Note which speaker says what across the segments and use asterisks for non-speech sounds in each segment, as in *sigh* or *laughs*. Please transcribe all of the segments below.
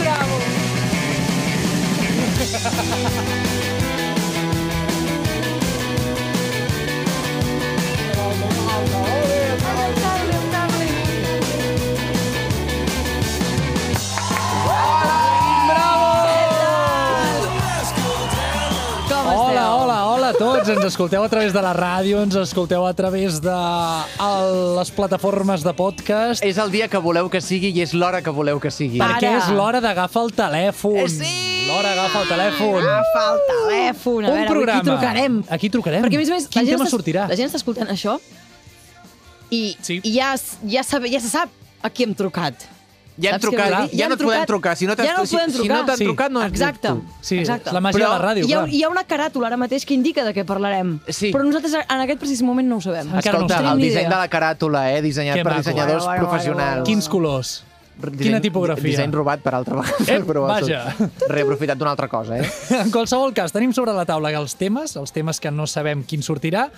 Speaker 1: Bravo. Com
Speaker 2: Hola,
Speaker 1: esteu?
Speaker 2: hola, hola a tots. Ens escolteu a través de la ràdio, ens escolteu a través de el- les plataformes de podcast.
Speaker 3: És el dia que voleu que sigui i és l'hora que voleu que sigui.
Speaker 1: Pa-
Speaker 2: Perquè
Speaker 1: Eh, Ara.
Speaker 2: és l'hora d'agafar el telèfon.
Speaker 1: Eh, sí!
Speaker 2: L'hora agafa el telèfon.
Speaker 1: Agafa el telèfon. A
Speaker 2: Un
Speaker 1: veure, avui
Speaker 2: programa.
Speaker 1: Qui trucarem?
Speaker 2: Aquí trucarem.
Speaker 1: Perquè, a més a més,
Speaker 2: Quin
Speaker 1: la gent
Speaker 2: tema
Speaker 1: està-
Speaker 2: sortirà?
Speaker 1: La gent està escoltant això i,
Speaker 2: Sí.
Speaker 1: i ja, s- ja, sap, ja se sap a qui hem trucat.
Speaker 3: Ja hem
Speaker 1: Saps què
Speaker 3: trucat,
Speaker 1: vull dir?
Speaker 3: ja,
Speaker 1: hem
Speaker 3: no et podem trucar. Si no t'has
Speaker 1: ja no
Speaker 3: si,
Speaker 1: podem
Speaker 3: si
Speaker 1: trucar.
Speaker 3: no t'han
Speaker 2: Sí.
Speaker 3: trucat, no ets
Speaker 1: Exacte.
Speaker 3: tu.
Speaker 2: Sí,
Speaker 1: Exacte.
Speaker 2: és la màgia
Speaker 3: Però
Speaker 2: de la ràdio,
Speaker 1: hi ha,
Speaker 2: clar.
Speaker 1: hi ha una caràtula ara mateix que indica de què parlarem.
Speaker 3: Sí.
Speaker 1: Però nosaltres en aquest precís moment no ho sabem.
Speaker 2: Encara no
Speaker 3: Escolta,
Speaker 2: en tenim
Speaker 3: el
Speaker 2: ni
Speaker 3: disseny
Speaker 1: idea.
Speaker 3: de la caràtula, eh? Dissenyat
Speaker 2: Que
Speaker 3: per
Speaker 2: maco.
Speaker 3: dissenyadors
Speaker 1: Bueno, bueno,
Speaker 3: professionals.
Speaker 1: bueno,
Speaker 2: Quins colors? *laughs*
Speaker 3: Disseny-
Speaker 2: Quina tipografia?
Speaker 3: Disseny robat per altra *laughs* vegada.
Speaker 2: Ep,
Speaker 3: però
Speaker 2: vaja.
Speaker 3: tot Eh, Reaprofitat d'una altra cosa, eh?
Speaker 2: En qualsevol cas, tenim sobre la taula els temes, els temes que no sabem quin sortirà,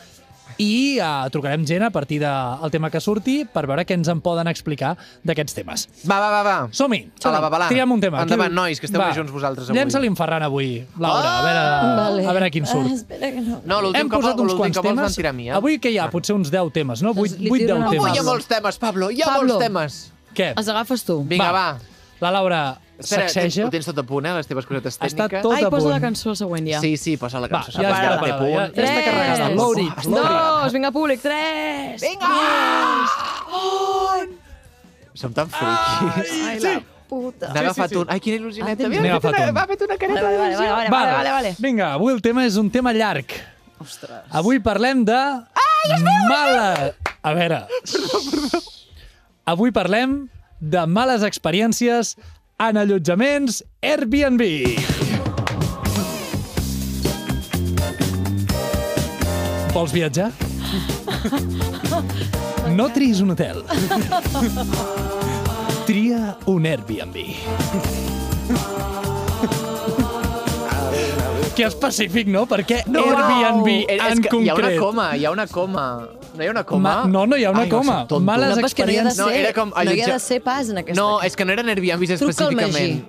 Speaker 2: i eh, trucarem gent a partir del de, el tema que surti per veure què ens en poden explicar d'aquests temes.
Speaker 3: Va, va, va, va.
Speaker 2: Som-hi!
Speaker 3: A la babalà.
Speaker 2: Triem un tema.
Speaker 3: Endavant,
Speaker 2: Qui-
Speaker 3: nois, que esteu
Speaker 2: Va,
Speaker 3: més junts vosaltres avui.
Speaker 2: Llença-li en Ferran avui, Laura, a, veure, a veure quin surt.
Speaker 1: Ah, espera que no.
Speaker 3: No, l'últim
Speaker 2: Hem
Speaker 3: que,
Speaker 2: posat
Speaker 3: vol,
Speaker 2: uns
Speaker 3: l'últim
Speaker 2: quants
Speaker 3: que vols
Speaker 2: temes.
Speaker 3: van tirar a mi, eh?
Speaker 2: Avui que hi ha? Potser uns 10 temes, no? 8,
Speaker 1: Doncs li
Speaker 2: 8
Speaker 1: tiro
Speaker 2: 10
Speaker 1: una
Speaker 3: Avui hi ha
Speaker 1: Pablo.
Speaker 2: temes.
Speaker 3: molts temes, Pablo. Hi ha
Speaker 1: Pablo.
Speaker 3: molts temes.
Speaker 2: Què?
Speaker 1: Els agafes tu.
Speaker 3: Vinga, va.
Speaker 2: La Laura
Speaker 3: Espera, tens,
Speaker 2: sacseja.
Speaker 3: ho tens tot a punt, eh? Les teves cosetes
Speaker 2: Està
Speaker 3: tècniques.
Speaker 2: tot
Speaker 1: Ai,
Speaker 2: a
Speaker 1: posa
Speaker 2: punt.
Speaker 1: la cançó següent ja.
Speaker 3: Sí, sí, posa la
Speaker 2: Va,
Speaker 3: cançó.
Speaker 2: ja està
Speaker 3: Ara té
Speaker 2: preparada.
Speaker 3: punt.
Speaker 2: Ja, ja està
Speaker 1: Tres,
Speaker 2: carregada. Load it, load it.
Speaker 1: Dos, vinga, públic, tres.
Speaker 3: Vinga! Som tan freaky.
Speaker 1: Ai, la puta.
Speaker 3: N'ha agafat un. Ai, quina il·lusioneta.
Speaker 1: Ah,
Speaker 3: Mira,
Speaker 2: N'he
Speaker 3: ha fet
Speaker 2: agafat
Speaker 3: una-
Speaker 2: un.
Speaker 3: Va, ha fet una
Speaker 1: Vale,
Speaker 3: careta
Speaker 1: vale, vale,
Speaker 3: d'il·lusió.
Speaker 1: vale, vale, vale, vale.
Speaker 2: Vinga, avui el tema és un tema llarg.
Speaker 1: Ostres.
Speaker 2: Avui parlem de... Ai, es veu! Mala... A veure... Perdó, perdó. Avui parlem de males experiències en allotjaments Airbnb. Vols viatjar? No triïs un hotel. Tria un Airbnb. Que específic, no? Per què Airbnb
Speaker 3: Eh, És
Speaker 2: en
Speaker 3: que Hi ha una
Speaker 2: concret?
Speaker 3: coma, hi ha una coma. No hi ha una coma?
Speaker 2: Ma- no, no hi ha una
Speaker 3: Ai, no,
Speaker 2: coma.
Speaker 3: soc tonto.
Speaker 2: Males
Speaker 1: No, però és que no hi ha de
Speaker 2: experiències-
Speaker 1: ser,
Speaker 3: No, era com
Speaker 1: no hi ha
Speaker 3: allotja-
Speaker 1: de ser pas en aquesta.
Speaker 3: No,
Speaker 1: aquí.
Speaker 3: és que no eren Airbnbs
Speaker 1: Truca al
Speaker 3: específicament.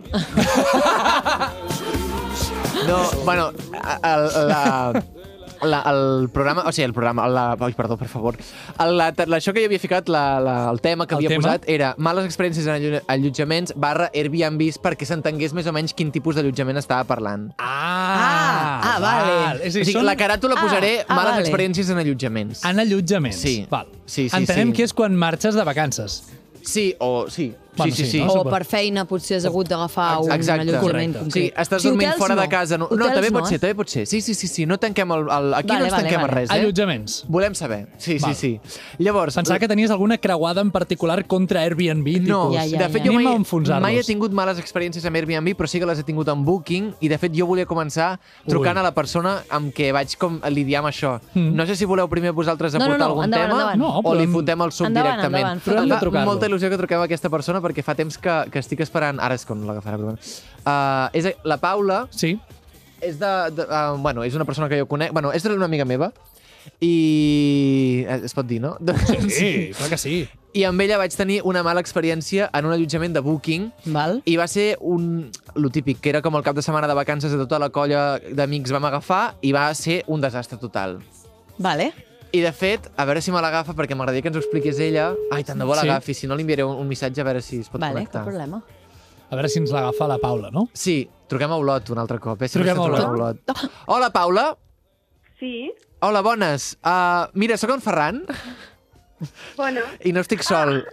Speaker 3: No, bueno, a- el, la, la, el programa... O sigui, el programa... La, ai, perdó, per favor. El, la, la- això que jo havia ficat, la, la, el tema que
Speaker 2: El
Speaker 3: havia
Speaker 2: tema?
Speaker 3: posat, era males experiències en allo- allotjaments barra Airbnbs perquè s'entengués més o menys quin tipus d'allotjament estava parlant.
Speaker 2: Ah,
Speaker 1: Ah, ah, vale.
Speaker 2: És
Speaker 3: o
Speaker 2: a dir,
Speaker 3: sigui,
Speaker 2: són
Speaker 3: la caràtula
Speaker 1: Ah,
Speaker 3: posaré
Speaker 1: ah,
Speaker 3: males
Speaker 1: vale. Ah,
Speaker 3: experiències en allotjaments.
Speaker 2: en allotjaments.
Speaker 3: Sí.
Speaker 2: Val.
Speaker 3: Sí, sí,
Speaker 2: Entenem
Speaker 3: sí.
Speaker 2: que és quan marxes de vacances.
Speaker 3: Sí, o... Sí,
Speaker 2: Bueno,
Speaker 3: sí, sí.
Speaker 2: sí,
Speaker 3: sí.
Speaker 2: no?
Speaker 1: O per feina potser has hagut d'agafar un
Speaker 3: Exacte.
Speaker 1: allotjament
Speaker 2: Correcte.
Speaker 3: Sí,
Speaker 1: concret.
Speaker 3: estàs dormint
Speaker 1: hotels
Speaker 3: fora
Speaker 1: no.
Speaker 3: de casa. No, no
Speaker 1: Hotels
Speaker 3: també
Speaker 1: no,
Speaker 3: pot ser,
Speaker 1: eh?
Speaker 3: també pot ser. Sí, sí, sí, sí. no tanquem el... el aquí
Speaker 1: Vale,
Speaker 3: no
Speaker 1: vale,
Speaker 3: ens tanquem
Speaker 1: vale.
Speaker 3: a res, eh?
Speaker 2: Allotjaments.
Speaker 3: Volem saber. Sí,
Speaker 2: Val.
Speaker 3: sí, sí. Llavors...
Speaker 2: Pensava que tenies alguna creuada en particular contra Airbnb.
Speaker 3: No,
Speaker 2: tipus,
Speaker 1: Ja, ja,
Speaker 3: de fet
Speaker 1: ja.
Speaker 3: jo
Speaker 2: Anem a
Speaker 3: mai,
Speaker 2: enfonsar-nos.
Speaker 3: mai he tingut males experiències amb Airbnb, però sí que les he tingut amb Booking, i de fet jo volia començar trucant
Speaker 2: Ui.
Speaker 3: a la persona amb què vaig com lidiar amb això. No sé si voleu primer vosaltres
Speaker 1: Hmm. No, no,
Speaker 3: aportar
Speaker 1: no,
Speaker 3: algun
Speaker 1: endavant,
Speaker 3: tema
Speaker 1: endavant.
Speaker 2: No,
Speaker 3: o li
Speaker 2: podem-
Speaker 3: fotem el suc
Speaker 1: Endavant,
Speaker 3: directament.
Speaker 1: endavant,
Speaker 2: Però hem
Speaker 3: Em
Speaker 2: de
Speaker 3: fa
Speaker 2: trucar-lo.
Speaker 3: Molta il·lusió que truquem a aquesta persona perquè fa temps que, que estic esperant... Ara és quan l'agafarà, però bueno. Uh, és la Paula,
Speaker 2: Sí.
Speaker 3: és de... de uh, bueno, és una persona que jo conec... Bueno, és una amiga meva i... eh, Es pot dir, no? *laughs*
Speaker 2: Sí, sí, clar que sí.
Speaker 3: I amb ella vaig tenir una mala experiència en un allotjament de Booking
Speaker 1: Val.
Speaker 3: i va ser un... Lo típic, que era com el cap de setmana de vacances de tota la colla d'amics vam agafar i va ser un desastre total.
Speaker 1: Vale.
Speaker 3: I, de fet, a veure si me l'agafa, perquè m'agradaria que ens ho expliqués ella. Ai, tant de bo
Speaker 2: Sí.
Speaker 3: l'agafi, si no li enviaré un, un missatge a veure si es pot
Speaker 1: Vale, cap
Speaker 3: connectar.
Speaker 1: problema.
Speaker 2: A veure si ens l'agafa la Paula, no?
Speaker 3: Sí, truquem a Olot un altre cop. Eh? Si
Speaker 2: Truquem
Speaker 3: no s'ha
Speaker 2: a
Speaker 3: trucat
Speaker 1: Olot.
Speaker 3: Olot. Hola, Paula.
Speaker 4: Sí,
Speaker 3: Hola, bones. Uh, mira, sóc en Ferran
Speaker 4: bueno.
Speaker 3: i no estic sol.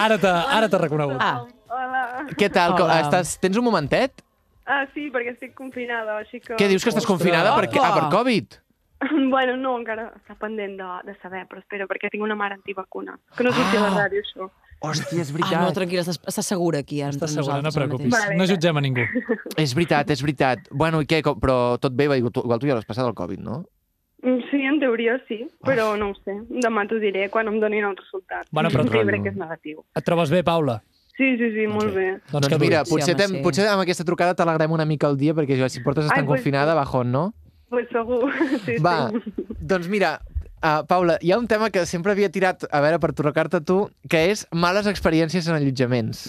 Speaker 2: Ara t'ha ara t'ha reconegut.
Speaker 1: Ah,
Speaker 4: Hola.
Speaker 3: Què tal? Com,
Speaker 2: Hola.
Speaker 3: estàs, tens un momentet?
Speaker 4: Ah, sí, perquè estic confinada, així que...
Speaker 3: Què dius que estàs
Speaker 2: Ostres.
Speaker 3: confinada? Per què? Ah, per Covid?
Speaker 4: *laughs* Bueno, no, encara està pendent de, de saber, però espero, perquè tinc una mare antivacuna. Que no sortia ah. a la ràdio, això.
Speaker 3: Hòstia, és
Speaker 1: ah no, tranquil·la, estàs, estàs segura aquí. Ara,
Speaker 2: Estàs
Speaker 1: entre
Speaker 2: segura, no
Speaker 1: doncs nosaltres, ara
Speaker 2: preocupis.
Speaker 1: mateix.
Speaker 4: Vale,
Speaker 2: No
Speaker 4: vale.
Speaker 2: jutgem a ningú.
Speaker 3: és veritat, és veritat. Bueno, i què? Com- Però tot bé, va, igual tu igual tu ja l'has passat el Covid, no?
Speaker 1: Doncs
Speaker 4: Mm, Sí, en teoria sí, però no ho sé. Demà t'ho diré quan em donin el resultat.
Speaker 2: Bueno, però-
Speaker 4: Jo crec que és negatiu.
Speaker 2: Et trobes bé, Paula?
Speaker 4: Sí, sí, sí, molt bé.
Speaker 2: Doncs
Speaker 3: que mira,
Speaker 1: Sí,
Speaker 3: potser,
Speaker 1: home,
Speaker 3: t'hem-
Speaker 1: sí.
Speaker 3: potser amb aquesta trucada t'alegrem una mica el dia, perquè jo, si portes estant
Speaker 4: Ai, pues
Speaker 3: confinada, bajón, no?
Speaker 4: Pues segur. *laughs* Sí,
Speaker 3: Va,
Speaker 4: sí.
Speaker 3: doncs mira, Uh, Paula, hi ha un tema que sempre havia tirat, a veure, per torcar-te tu, que és males experiències en allotjaments.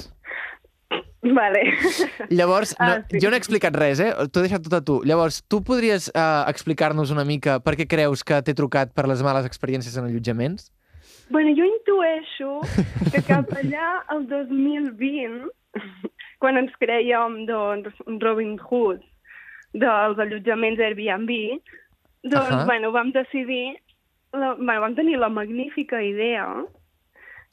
Speaker 4: Vale.
Speaker 3: *laughs* Llavors, no,
Speaker 4: Ah, sí.
Speaker 3: jo no he explicat res, eh? T'ho he deixat tot a tu. Llavors, tu podries uh, explicar-nos una mica per què creus que t'he trucat per les males experiències en allotjaments?
Speaker 4: bueno, jo intueixo que cap allà el 2020, quan ens creiem doncs, Robin Hood dels allotjaments Airbnb, doncs,
Speaker 3: Ahà.
Speaker 4: bueno, vam decidir, la, bueno, vam tenir la magnífica idea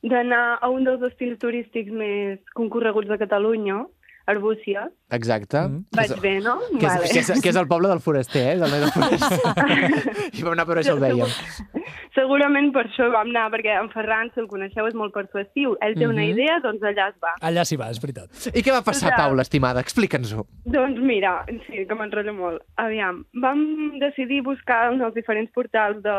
Speaker 4: d'anar a un dels destins turístics més concorreguts de Catalunya, Arbúcies.
Speaker 3: Exacte. Mm.
Speaker 4: Vaig bé, no?
Speaker 3: Que, és, que, és, que és el poble del foraster, eh? Del noi del
Speaker 1: *laughs*
Speaker 3: foraster. *laughs* I vam anar per això, el vèiem.
Speaker 4: Segurament per això vam anar, perquè en Ferran, si el coneixeu, és molt persuasiu. Ell té
Speaker 3: Mhm.
Speaker 4: una idea, doncs allà es va.
Speaker 2: Allà s'hi va, és veritat.
Speaker 3: I què va passar,
Speaker 4: Exacte.
Speaker 3: Paula, estimada? Explica'ns-ho.
Speaker 4: Doncs mira, sí, que m'enrotllo molt. Aviam, vam decidir buscar en els diferents portals de,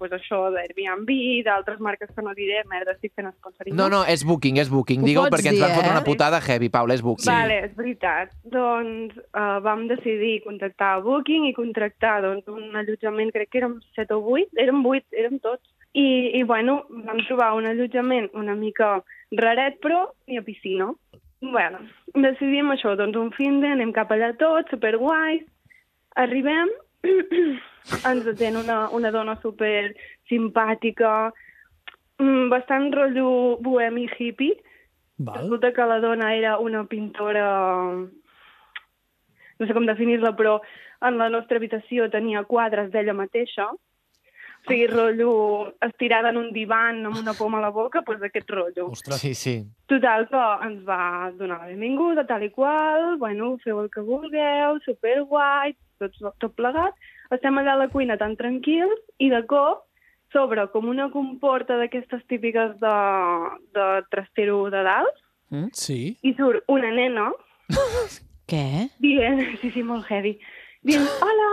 Speaker 4: pues això, d'Airbnb, d'altres marques que no diré, merda, estic fent esponsoritzat.
Speaker 3: No, no, és booking, és booking.
Speaker 1: Ho
Speaker 3: Digue-ho
Speaker 1: pots
Speaker 3: perquè ens van
Speaker 1: dir,
Speaker 3: fotre
Speaker 1: eh?
Speaker 3: una putada heavy, Paula, és booking.
Speaker 4: Vale, és veritat. Doncs uh, vam decidir contactar a Booking i contractar doncs, un allotjament, crec que érem 7 o 8, érem 8, érem tots. I, i bueno, vam trobar un allotjament una mica raret, però ni a piscina. bueno, decidim això, doncs un fin de, anem cap allà tots, superguais, arribem, *clears throat* ens atén una, una dona super simpàtica, mm, bastant rotllo bohemi hippie,
Speaker 2: Val?
Speaker 4: Resulta que la dona era una pintora... No sé com definir-la, però en la nostra habitació tenia quadres d'ella mateixa. O sigui, rotllo estirada en un divan amb una poma a la boca, doncs aquest rotllo.
Speaker 2: Ostres.
Speaker 3: Sí, sí.
Speaker 4: Total, que ens va donar la benvinguda, tal i qual, bueno, feu el que vulgueu, superguai, tot, tot plegat. Estem allà a la cuina tan tranquils i de cop s'obre com una comporta d'aquestes típiques de, de trastero de dalt
Speaker 1: Mm?
Speaker 2: Sí.
Speaker 4: i surt una nena
Speaker 1: Què?
Speaker 4: dient, *laughs* sí, sí, molt heavy, dient, hola!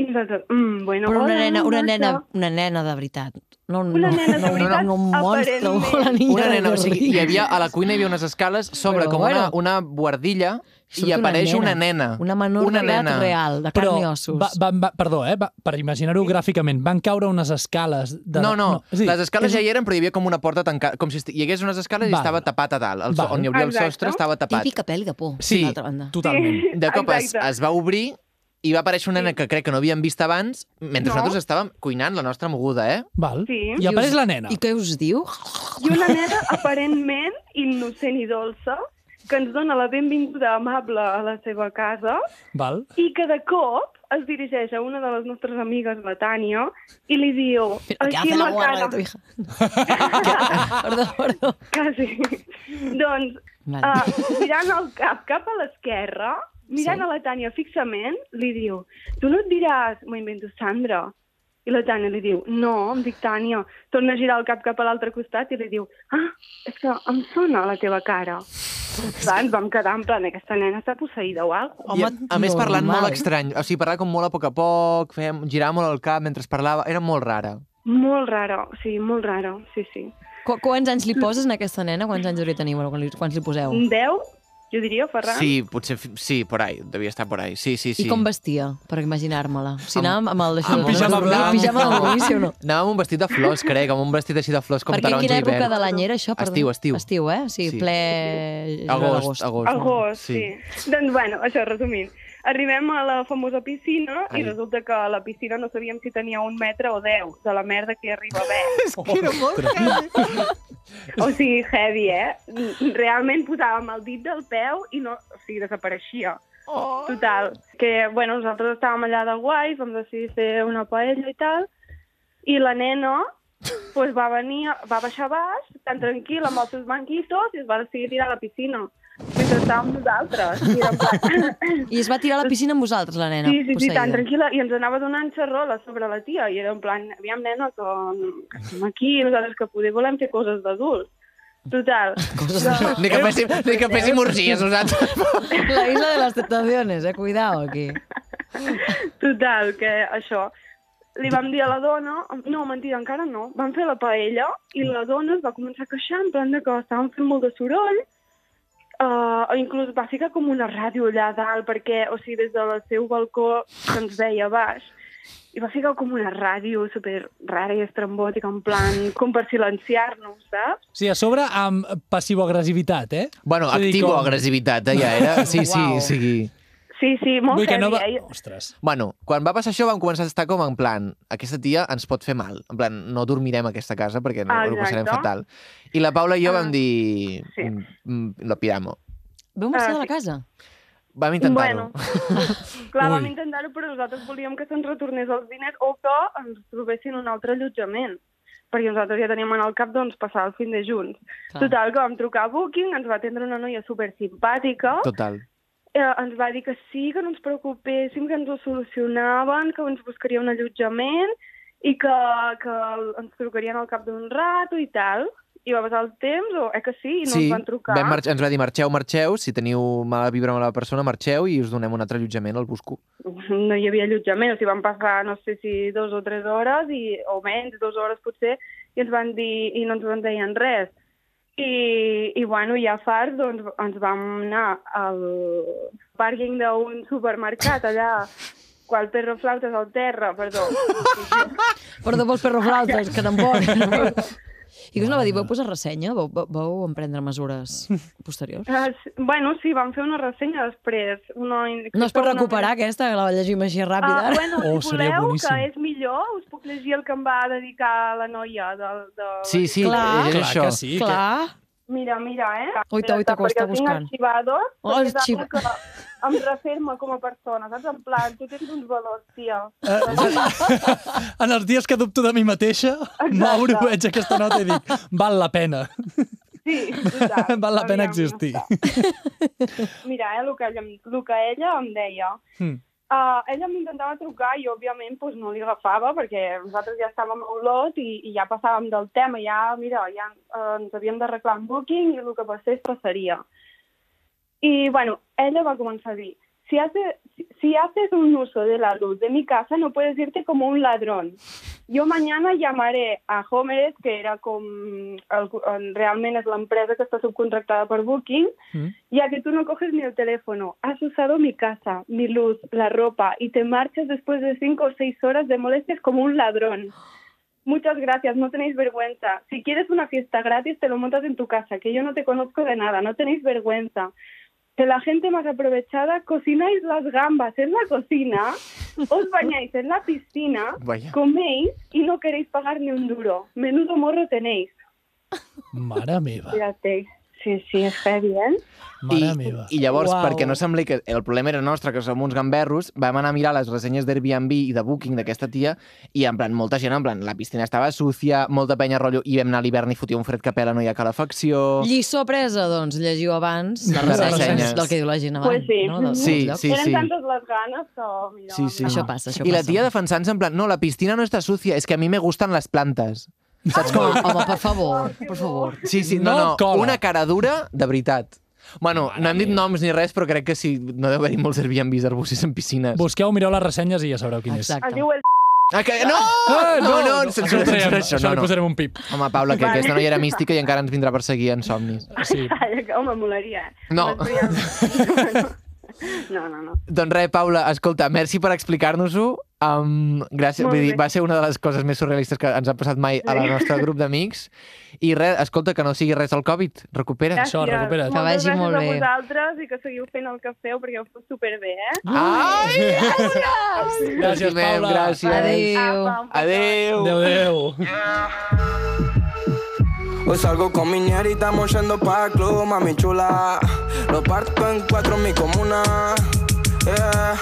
Speaker 4: I nosaltres, mm, bueno,
Speaker 1: Però una
Speaker 4: hola,
Speaker 1: nena, una
Speaker 4: no,
Speaker 1: nena,
Speaker 4: això".
Speaker 1: una nena de veritat. No, no,
Speaker 4: Una nena de
Speaker 1: no,
Speaker 4: veritat,
Speaker 1: no, no, un monstre,
Speaker 4: aparentment.
Speaker 1: una nena,
Speaker 3: Una nena,
Speaker 1: de
Speaker 3: o sigui, hi
Speaker 1: ric.
Speaker 3: havia, a la cuina hi havia unes escales, sobre
Speaker 1: Però,
Speaker 3: com una,
Speaker 1: bueno.
Speaker 3: una guardilla,
Speaker 1: Surt
Speaker 3: i apareix una nena.
Speaker 1: Una menor
Speaker 3: Una
Speaker 1: d'edat
Speaker 3: nena.
Speaker 1: real, de carn i ossos.
Speaker 2: va, va, va, perdó, eh? Va, per imaginar-ho gràficament, van caure unes escales... De...
Speaker 3: No, no,
Speaker 2: és a dir,
Speaker 3: les escales
Speaker 2: és-
Speaker 3: ja hi eren, però hi havia com una porta tancada, com si esti- hi hagués unes escales i
Speaker 2: Val.
Speaker 3: estava tapat a dalt. El, so-
Speaker 2: Val.
Speaker 3: on hi hauria el
Speaker 4: Exacte.
Speaker 3: sostre estava tapat.
Speaker 1: Típica pel de por,
Speaker 3: Sí,
Speaker 1: sí, d'altra banda.
Speaker 2: Totalment.
Speaker 4: Sí,
Speaker 3: *laughs* De cop es,
Speaker 4: exacte.
Speaker 3: es va obrir i va aparèixer una nena que crec que no havíem vist abans, mentre
Speaker 4: No.
Speaker 3: nosaltres estàvem cuinant la nostra moguda, eh?
Speaker 2: Val.
Speaker 4: Sí.
Speaker 2: I apareix la nena.
Speaker 1: I què us diu?
Speaker 4: I una nena aparentment innocent i dolça que ens dona la benvinguda amable a la seva casa
Speaker 2: Val.
Speaker 4: i que de cop es dirigeix a una de les nostres amigues, la Tània, i li diu...
Speaker 1: Pero, ¿Qué
Speaker 4: "Aquí
Speaker 1: hace la
Speaker 4: ma
Speaker 1: guarra
Speaker 4: cara".
Speaker 1: de tu hija? *laughs* perdó, perdó.
Speaker 4: Quasi. doncs,
Speaker 1: Vale.
Speaker 4: uh, mirant el cap cap a l'esquerra, mirant sí. a la Tània fixament, li diu, tu no et diràs, m'ho invento, Sandra. I la Tània li diu, no, em dic Tània. Torna a girar el cap cap a l'altre costat i li diu, ah, és que em sona la teva cara. Clar, ens vam quedar en plan, aquesta nena està posseïda o alguna
Speaker 3: I, a, a més, parlant
Speaker 1: normal.
Speaker 3: molt estrany. O sigui, parlava com molt a poc a poc, fèiem, girava molt el cap mentre parlava. Era molt rara.
Speaker 4: Molt rara, sí, molt rara, sí, sí.
Speaker 1: Qu quants anys li poses a aquesta nena? Quants anys hauria de tenir? Bueno, quan li- quants li poseu?
Speaker 4: Un 10, jo diria, Ferran.
Speaker 3: Sí, potser... fi- Sí, por ahí. Devia estar por ahí. Sí, sí, sí.
Speaker 1: I com vestia, per imaginar-me-la? Si
Speaker 3: Amb-
Speaker 1: anàvem amb el, això,
Speaker 3: amb
Speaker 1: de-
Speaker 2: pijama
Speaker 1: dormir,
Speaker 2: blanc.
Speaker 1: pijama de dormir, sí o no?
Speaker 3: Anava amb un vestit de flors, crec, amb un vestit així de flors *laughs* com
Speaker 1: Perquè en
Speaker 3: taronja
Speaker 1: quina
Speaker 3: i verd.
Speaker 1: època de l'any era això? Perdó?
Speaker 3: Estiu, estiu.
Speaker 1: Estiu, eh? O sigui,
Speaker 3: Sí.
Speaker 1: sí. ple...
Speaker 3: Agost, agost.
Speaker 4: Al
Speaker 3: no?
Speaker 4: gos, sí. sí. Doncs, bueno, això, resumint. Arribem a la famosa piscina Ai.
Speaker 3: Ai.
Speaker 4: i resulta que a la piscina no sabíem si tenia un metre o deu de la merda que hi arriba a
Speaker 3: *laughs*
Speaker 4: haver.
Speaker 3: Que era molt
Speaker 4: o sigui, heavy, eh? Realment posàvem el dit del peu i no... O sigui, desapareixia.
Speaker 3: oh.
Speaker 4: Total, que, bueno, nosaltres estàvem allà de guais, vam decidir fer una paella i tal, i la nena pues, Doncs va venir, va baixar a baix, tan tranquil, amb els seus banquitos, i es va decidir tirar a la piscina. Mentre estàvem nosaltres. I era en
Speaker 1: *laughs*
Speaker 4: plan...
Speaker 1: I es va tirar a la piscina amb vosaltres, la nena.
Speaker 4: Sí, sí, sí, tan
Speaker 1: posseïda.
Speaker 4: tranquil·la. I ens anava donant xerrola sobre la tia. I era en plan, aviam, nena, que, que estem aquí, nosaltres que poder volem fer coses d'adults. Total.
Speaker 1: *laughs*
Speaker 4: Doncs
Speaker 1: Coses de-
Speaker 3: Ni que féssim, ni que féssim orgies, nosaltres.
Speaker 1: *laughs* La isla de les tentaciones, eh? Cuidao, aquí.
Speaker 4: Total, que això... Li vam dir a la dona... No, mentida, encara no. Vam fer la paella i la dona es va començar a queixar en plan de que estàvem fent molt de soroll Uh, inclús va ficar com una ràdio allà a dalt perquè, o sigui, des del seu balcó se'ns veia a baix i va ficar com una ràdio super rara i estrambòtica, en plan, com per silenciar-nos, saps?
Speaker 2: Sí, a sobre amb passivo-agressivitat, eh?
Speaker 3: Bueno,
Speaker 2: És a dir,
Speaker 3: activo
Speaker 2: com-
Speaker 3: agressivitat, eh, ja era. Sí, sí,
Speaker 1: Uau.
Speaker 3: o sigui...
Speaker 4: Sí, sí, molt
Speaker 2: Vull que
Speaker 4: heavy,
Speaker 2: no va...
Speaker 4: eh?
Speaker 2: Ostres.
Speaker 3: Bueno, quan va passar això vam començar a estar com en plan aquesta tia ens pot fer mal. En plan, no dormirem a aquesta casa perquè no,
Speaker 4: Ah,
Speaker 3: ho passarem
Speaker 4: exacte.
Speaker 3: fatal. I la Paula i jo
Speaker 4: Ah.
Speaker 3: vam dir...
Speaker 4: Sí.
Speaker 3: "Mm, Lo piramo.
Speaker 1: Veu marxar
Speaker 4: Ah,
Speaker 1: de la casa?
Speaker 3: Vam intentar-ho.
Speaker 4: Bueno, *laughs* clar,
Speaker 2: Ui.
Speaker 4: vam intentar-ho, però nosaltres volíem que se'ns retornés els diners o que ens trobessin un altre allotjament perquè nosaltres ja teníem en el cap doncs, passar el fin de junts.
Speaker 1: Clar.
Speaker 4: Total, que vam trucar a Booking, ens va atendre una noia super simpàtica,
Speaker 3: *laughs* Total.
Speaker 4: eh, ens va dir que sí, que no ens preocupéssim, que ens ho solucionaven, que ens buscaria un allotjament i que, que ens trucarien al cap d'un rato i tal. I va passar el temps, o eh que sí, i no ens van trucar.
Speaker 3: vam marx- ens va dir marxeu, marxeu, si teniu mala vibra amb la persona, marxeu i us donem un altre allotjament, el busco.
Speaker 4: no hi havia allotjament, o sigui, van passar, no sé si dos o tres hores, i, o menys, dues hores potser, i ens van dir, i no ens van deien res. I, i bueno, ja farts, doncs, ens vam anar al pàrquing d'un supermercat allà, qual perro flautes al terra, perdó.
Speaker 1: Perdó pels perroflautes, que
Speaker 4: *laughs*
Speaker 1: tampoc. I us anava a dir, vau posar ressenya? Vau, vau, vau emprendre mesures posteriors?
Speaker 4: Eh, s- bueno, sí, vam fer una ressenya després. Una,
Speaker 1: No es pot
Speaker 4: una-
Speaker 1: recuperar aquesta, que la llegim així ràpid
Speaker 4: Ah,
Speaker 1: ara?
Speaker 4: bueno,
Speaker 2: Oh,
Speaker 4: si
Speaker 2: seria
Speaker 4: voleu,
Speaker 2: boníssim.
Speaker 4: que és millor, us puc llegir el que em va dedicar la noia de, de
Speaker 3: Sí, sí,
Speaker 1: Clar.
Speaker 3: és
Speaker 2: Clar
Speaker 3: això.
Speaker 2: que sí. Que...
Speaker 1: Clar.
Speaker 4: Mira, mira, eh?
Speaker 1: Oita, oita, que ho està
Speaker 4: Perquè els
Speaker 1: buscant.
Speaker 4: tinc arxivados,
Speaker 1: Oh,
Speaker 4: perquè és
Speaker 1: arxiva-
Speaker 4: algo que em referma com a persona, saps? En plan, tu tens uns valors, tia.
Speaker 2: Eh, En els dies que dubto de mi mateixa, Mauro, veig aquesta nota i dic, val la pena,
Speaker 4: *laughs*
Speaker 2: *laughs*
Speaker 4: Sí, total.
Speaker 2: val la pena
Speaker 4: Aviam,
Speaker 2: existir.
Speaker 4: ja està. Mira, eh, el que ella, el que ella em deia.
Speaker 2: Hmm.
Speaker 4: Uh, ella m'intentava trucar i, òbviament, doncs, no li agafava perquè nosaltres ja estàvem a Olot i, i ja passàvem del tema. Ja, mira, ja eh, ens havíem d'arreglar en Booking i el que passés passaria. Y bueno, ella va a comenzar a decir, si, hace- si, si haces un uso de la luz de mi casa, no puedes irte como un ladrón. Yo mañana llamaré a Homeres, que era com el, en- realment és l'empresa que està subcontractada per Booking,
Speaker 2: Mm.
Speaker 4: ya que tú no coges ni el teléfono. Has usado mi casa, mi luz, la ropa y te marchas después de cinco o seis horas de molestias como un ladrón. Muchas gracias, no tenéis vergüenza. Si quieres una fiesta gratis, te lo montas en tu casa, que yo no te conozco de nada, no tenéis vergüenza de la gente más aprovechada, cocináis las gambas en la cocina, os bañáis en la piscina,
Speaker 3: Vaya.
Speaker 4: coméis y no queréis pagar ni un duro. Menudo morro tenéis.
Speaker 2: Mare meva,
Speaker 4: Fíjate. Sí, sí, es heavy, ¿eh?
Speaker 2: mare
Speaker 3: I,
Speaker 2: meva.
Speaker 3: I llavors,
Speaker 1: Uau.
Speaker 3: wow. perquè no sembli que el problema era nostre, que som uns gamberros, vam anar a mirar les ressenyes d'Airbnb i de Booking d'aquesta tia i, en plan, molta gent, en plan, la piscina estava sucia, molta penya rotllo, i vam anar a l'hivern i fotia un fred que pela, no hi ha calefacció...
Speaker 1: Lliçó presa, doncs, llegiu abans les
Speaker 3: Les
Speaker 1: ressenyes
Speaker 3: ressenyes.
Speaker 1: del que diu la gent abans.
Speaker 4: Pues sí.
Speaker 1: No? Del-
Speaker 3: Sí,
Speaker 1: dels llocs.
Speaker 3: sí,
Speaker 4: Eran
Speaker 3: sí.
Speaker 4: tantas las ganas, o mira,
Speaker 3: Sí, sí.
Speaker 1: Això passa, això
Speaker 3: I la
Speaker 1: passa.
Speaker 3: tia defensant-se en plan, no, la piscina no està sucia, és que a mi me gusten les plantes. Saps com?
Speaker 1: Home, home, per
Speaker 3: oh,
Speaker 1: favor, per favor.
Speaker 3: Sí, sí, no,
Speaker 2: No
Speaker 3: no,
Speaker 2: cola.
Speaker 3: una cara dura de veritat. Bueno, no hem dit noms ni res, però crec que sí, no deu haver-hi molts Airbnbs arbucis en piscines.
Speaker 2: Busqueu, mireu les ressenyes i ja sabreu quin és.
Speaker 1: Exacte.
Speaker 4: Es diu el...
Speaker 3: Ah, que... No!
Speaker 2: Ah,
Speaker 3: no, no,
Speaker 2: no,
Speaker 3: censura,
Speaker 2: ho traiem,
Speaker 3: censura això,
Speaker 2: això
Speaker 3: no,
Speaker 2: li
Speaker 3: no.
Speaker 2: posarem un pip.
Speaker 3: Home, Paula, que
Speaker 4: Vale.
Speaker 3: aquesta noia era mística i encara ens vindrà a perseguir en somnis.
Speaker 2: Sí.
Speaker 4: Home, molaria. eh?
Speaker 3: No.
Speaker 4: No,
Speaker 3: *laughs*
Speaker 4: no, no.
Speaker 3: Doncs res, Paula, escolta, merci per explicar-nos-ho. Um, gràcies,
Speaker 4: Molt
Speaker 3: vull dir,
Speaker 4: bé.
Speaker 3: va ser una de les coses més surrealistes que ens ha passat mai a la nostra grup d'amics. I res, escolta, que no sigui res el Covid, recupera't.
Speaker 2: Això,
Speaker 4: Gràcies.
Speaker 2: recupera't.
Speaker 1: Que
Speaker 4: Moltes
Speaker 1: vagi
Speaker 4: gràcies
Speaker 1: molt bé.
Speaker 4: a vosaltres i que seguiu fent el que feu perquè ho feu superbé, eh?
Speaker 3: Ai!
Speaker 2: Gràcies,
Speaker 3: Estimem,
Speaker 2: Paula.
Speaker 3: Gràcies.
Speaker 1: Adéu.
Speaker 4: Apa, un petó.
Speaker 3: Adéu.
Speaker 2: Adéu, adéu.
Speaker 5: Hoy salgo con mi niñera y estamos yendo pa' club, mami chula. Lo parto en cuatro en mi comuna. Yeah.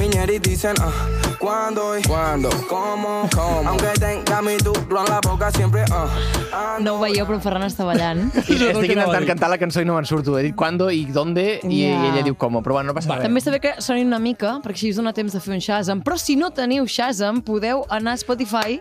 Speaker 5: Mi ñera y dicen, ah, ¿cuándo y cuándo? ¿Cómo? ¿Cómo? Aunque tenga mi duplo en la boca siempre, ah, ando.
Speaker 1: No ho veieu, però en Ferran està ballant.
Speaker 3: I
Speaker 2: Això és el
Speaker 3: estic
Speaker 2: que anava a
Speaker 3: intentant
Speaker 2: dir.
Speaker 3: cantar la cançó i no me'n surto. He dit quando i donde
Speaker 1: Ja.
Speaker 3: i, i ella diu com, però bueno, no passa res.
Speaker 1: També està bé que sonin una mica, perquè així us dona temps de fer un Shazam. Però si no teniu Shazam, podeu anar a Spotify,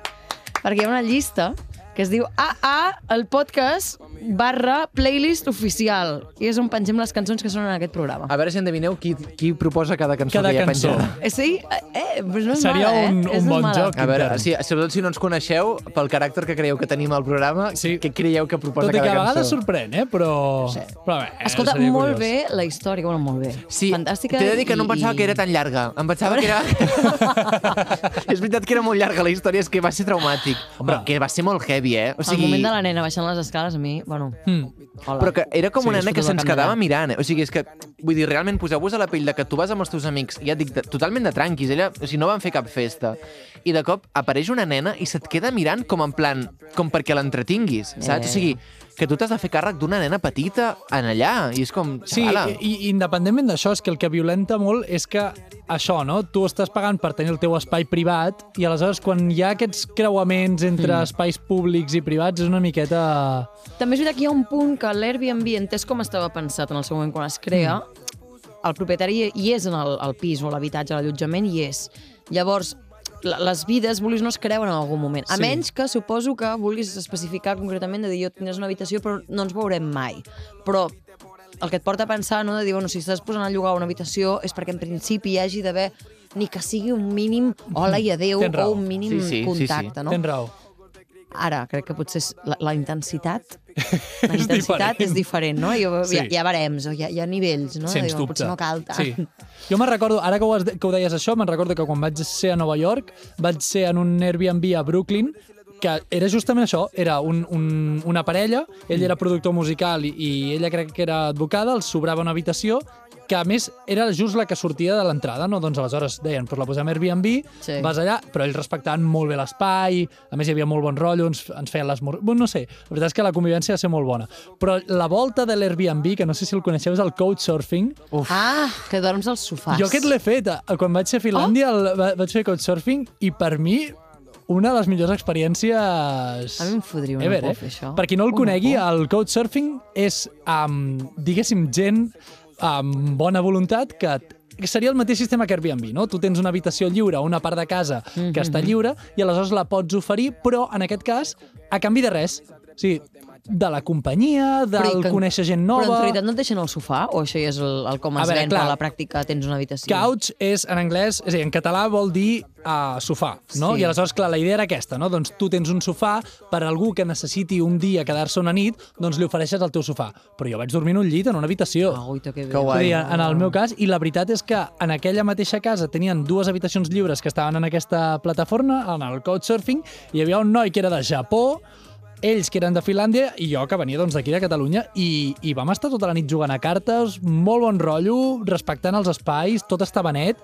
Speaker 1: perquè hi ha una llista que es diu AA, el podcast barra playlist oficial. I és on pengem les cançons que sonen en aquest programa.
Speaker 3: A veure si endevineu qui, qui proposa cada cançó
Speaker 2: Cada
Speaker 3: que ja
Speaker 2: cançó.
Speaker 3: pengem.
Speaker 1: Eh, Sí? Eh, Eh, doncs no és
Speaker 2: Seria
Speaker 1: mala, eh?
Speaker 2: un-
Speaker 1: És
Speaker 2: un bon
Speaker 1: mala.
Speaker 2: joc.
Speaker 3: A veure, sí, sobretot si no ens coneixeu, pel caràcter que creieu que tenim al programa,
Speaker 2: Sí.
Speaker 3: què creieu que proposa
Speaker 2: Tot i que a
Speaker 3: cada
Speaker 2: vegades
Speaker 3: cançó?
Speaker 2: sorprèn, eh? Però... però bé,
Speaker 3: Eh,
Speaker 2: eh,
Speaker 1: Escolta,
Speaker 2: seria
Speaker 1: molt
Speaker 2: curiós.
Speaker 1: bé la història, bueno, molt bé.
Speaker 3: Sí,
Speaker 1: Fantàstica.
Speaker 3: t'he de dir que no
Speaker 1: i-
Speaker 3: em pensava
Speaker 1: i-
Speaker 3: que era tan llarga. Em pensava que era...
Speaker 1: *laughs*
Speaker 3: és veritat que era molt llarga la història, és que va ser traumàtic.
Speaker 2: Home.
Speaker 3: Però que va ser molt heavy, eh? O
Speaker 1: El
Speaker 3: sigui,
Speaker 1: moment de la nena baixant les escales, a mi, bueno...
Speaker 2: Mm.
Speaker 1: Hola.
Speaker 3: però que era com
Speaker 1: Sí,
Speaker 3: una nena
Speaker 1: surto
Speaker 3: que
Speaker 1: del
Speaker 3: se'ns
Speaker 1: camp de
Speaker 3: quedava
Speaker 1: llana.
Speaker 3: mirant. eh? O sigui, és que, vull dir, realment, poseu-vos a la pell de que tu vas amb els teus amics, ja et dic, de, totalment de tranquis, ella, o sigui, no van fer cap festa. I de cop apareix una nena i se't queda mirant com en plan, com perquè l'entretinguis, saps? O sigui, que tu t'has de fer càrrec d'una nena petita en allà, i és com,
Speaker 2: Sí,
Speaker 3: xavala.
Speaker 2: i, i independentment d'això, és que el que violenta molt és que això, no? Tu estàs pagant per tenir el teu espai privat i aleshores quan hi ha aquests creuaments entre espais públics i privats és una miqueta...
Speaker 1: També és veritat que hi ha un punt que l'Airbnb, entès com estava pensat en el seu moment quan es crea, el propietari hi és en el, el pis o l'habitatge, l'allotjament, hi és. Llavors, la- les vides, vulguis o no, es creuen en algun moment. A
Speaker 2: Sí.
Speaker 1: menys que suposo que vulguis especificar concretament de dir jo tindràs una habitació però no ens veurem mai. Però el que et porta a pensar, no?, de dir, bueno, si estàs posant a llogar una habitació és perquè en principi hi hagi d'haver ni que sigui un mínim hola i adeu
Speaker 2: Tens
Speaker 1: o
Speaker 2: raó.
Speaker 1: un mínim
Speaker 3: Sí, sí, sí, sí.
Speaker 1: contacte, no?
Speaker 2: Tens raó.
Speaker 1: ara crec que potser és la, la
Speaker 2: *laughs*
Speaker 1: intensitat la intensitat
Speaker 2: diferent.
Speaker 1: és diferent, no? Hi, sí. hi, ha,
Speaker 2: Sí.
Speaker 1: hi ha barems, o hi ha, hi ha nivells, no?
Speaker 2: Sens
Speaker 1: Diuen,
Speaker 2: dubte.
Speaker 1: Potser no cal tant.
Speaker 2: Sí. Jo me'n recordo, ara que ho, has, que ho deies això, me'n recordo que quan vaig ser a Nova York, vaig ser en un Airbnb a Brooklyn, que era justament això, era un, un, una parella, ell era productor musical i, i ella crec que era advocada, els sobrava una habitació, que a més era just la que sortia de l'entrada, no? Doncs aleshores deien, doncs la posem a Airbnb,
Speaker 1: Sí.
Speaker 2: sí. vas allà, però ells respectaven molt bé l'espai, a més hi havia molt bon rotllo, ens, ens feien l'esmorzar... Bueno, no sé, la veritat és que la convivència va ser molt bona. Però la volta de l'Airbnb, que no sé si el coneixeu, és el couchsurfing,
Speaker 1: Ah, que dorms al sofà.
Speaker 2: jo aquest l'he fet. eh, Quan vaig ser a Finlàndia
Speaker 1: Oh!
Speaker 2: el, va- vaig fer couchsurfing i per mi una de les millors experiències...
Speaker 1: A mi em fodria una por fer això.
Speaker 2: eh? Per qui no el
Speaker 1: Una
Speaker 2: conegui,
Speaker 1: por.
Speaker 2: el couchsurfing és, um, diguéssim, gent amb bona voluntat que t- que seria el mateix sistema que Airbnb, no? Tu tens una habitació lliure, una part de casa que està
Speaker 1: Mm-hmm.
Speaker 2: lliure i aleshores la pots oferir, però en aquest cas a canvi de res. O sigui, de la companyia,
Speaker 1: Però
Speaker 2: del
Speaker 1: i que-
Speaker 2: conèixer gent nova...
Speaker 1: Però en realitat no et deixen al sofà? O això ja és el, el com
Speaker 2: A
Speaker 1: es
Speaker 2: veure,
Speaker 1: ven,
Speaker 2: clar.
Speaker 1: però a la pràctica tens una habitació?
Speaker 2: Couch és, en anglès, és a dir, en català vol dir uh, sofà, no?
Speaker 1: Sí.
Speaker 2: I aleshores, clar, la idea era aquesta, no? Doncs tu tens un sofà per a algú que necessiti un dia quedar-se una nit, doncs li ofereixes el teu sofà. Però jo vaig dormir en un llit, en una habitació.
Speaker 1: Ah, guaita, que bé.
Speaker 3: Que guai.
Speaker 2: Vull dir, en el meu cas, i la veritat és que en aquella mateixa casa tenien dues habitacions lliures que estaven en aquesta plataforma, en el couchsurfing, i hi havia un noi que era de Japó, ells que eren de Finlàndia i jo que venia doncs d'aquí de Catalunya i, i vam estar tota la nit jugant a cartes, molt bon rotllo, respectant els espais, tot estava net.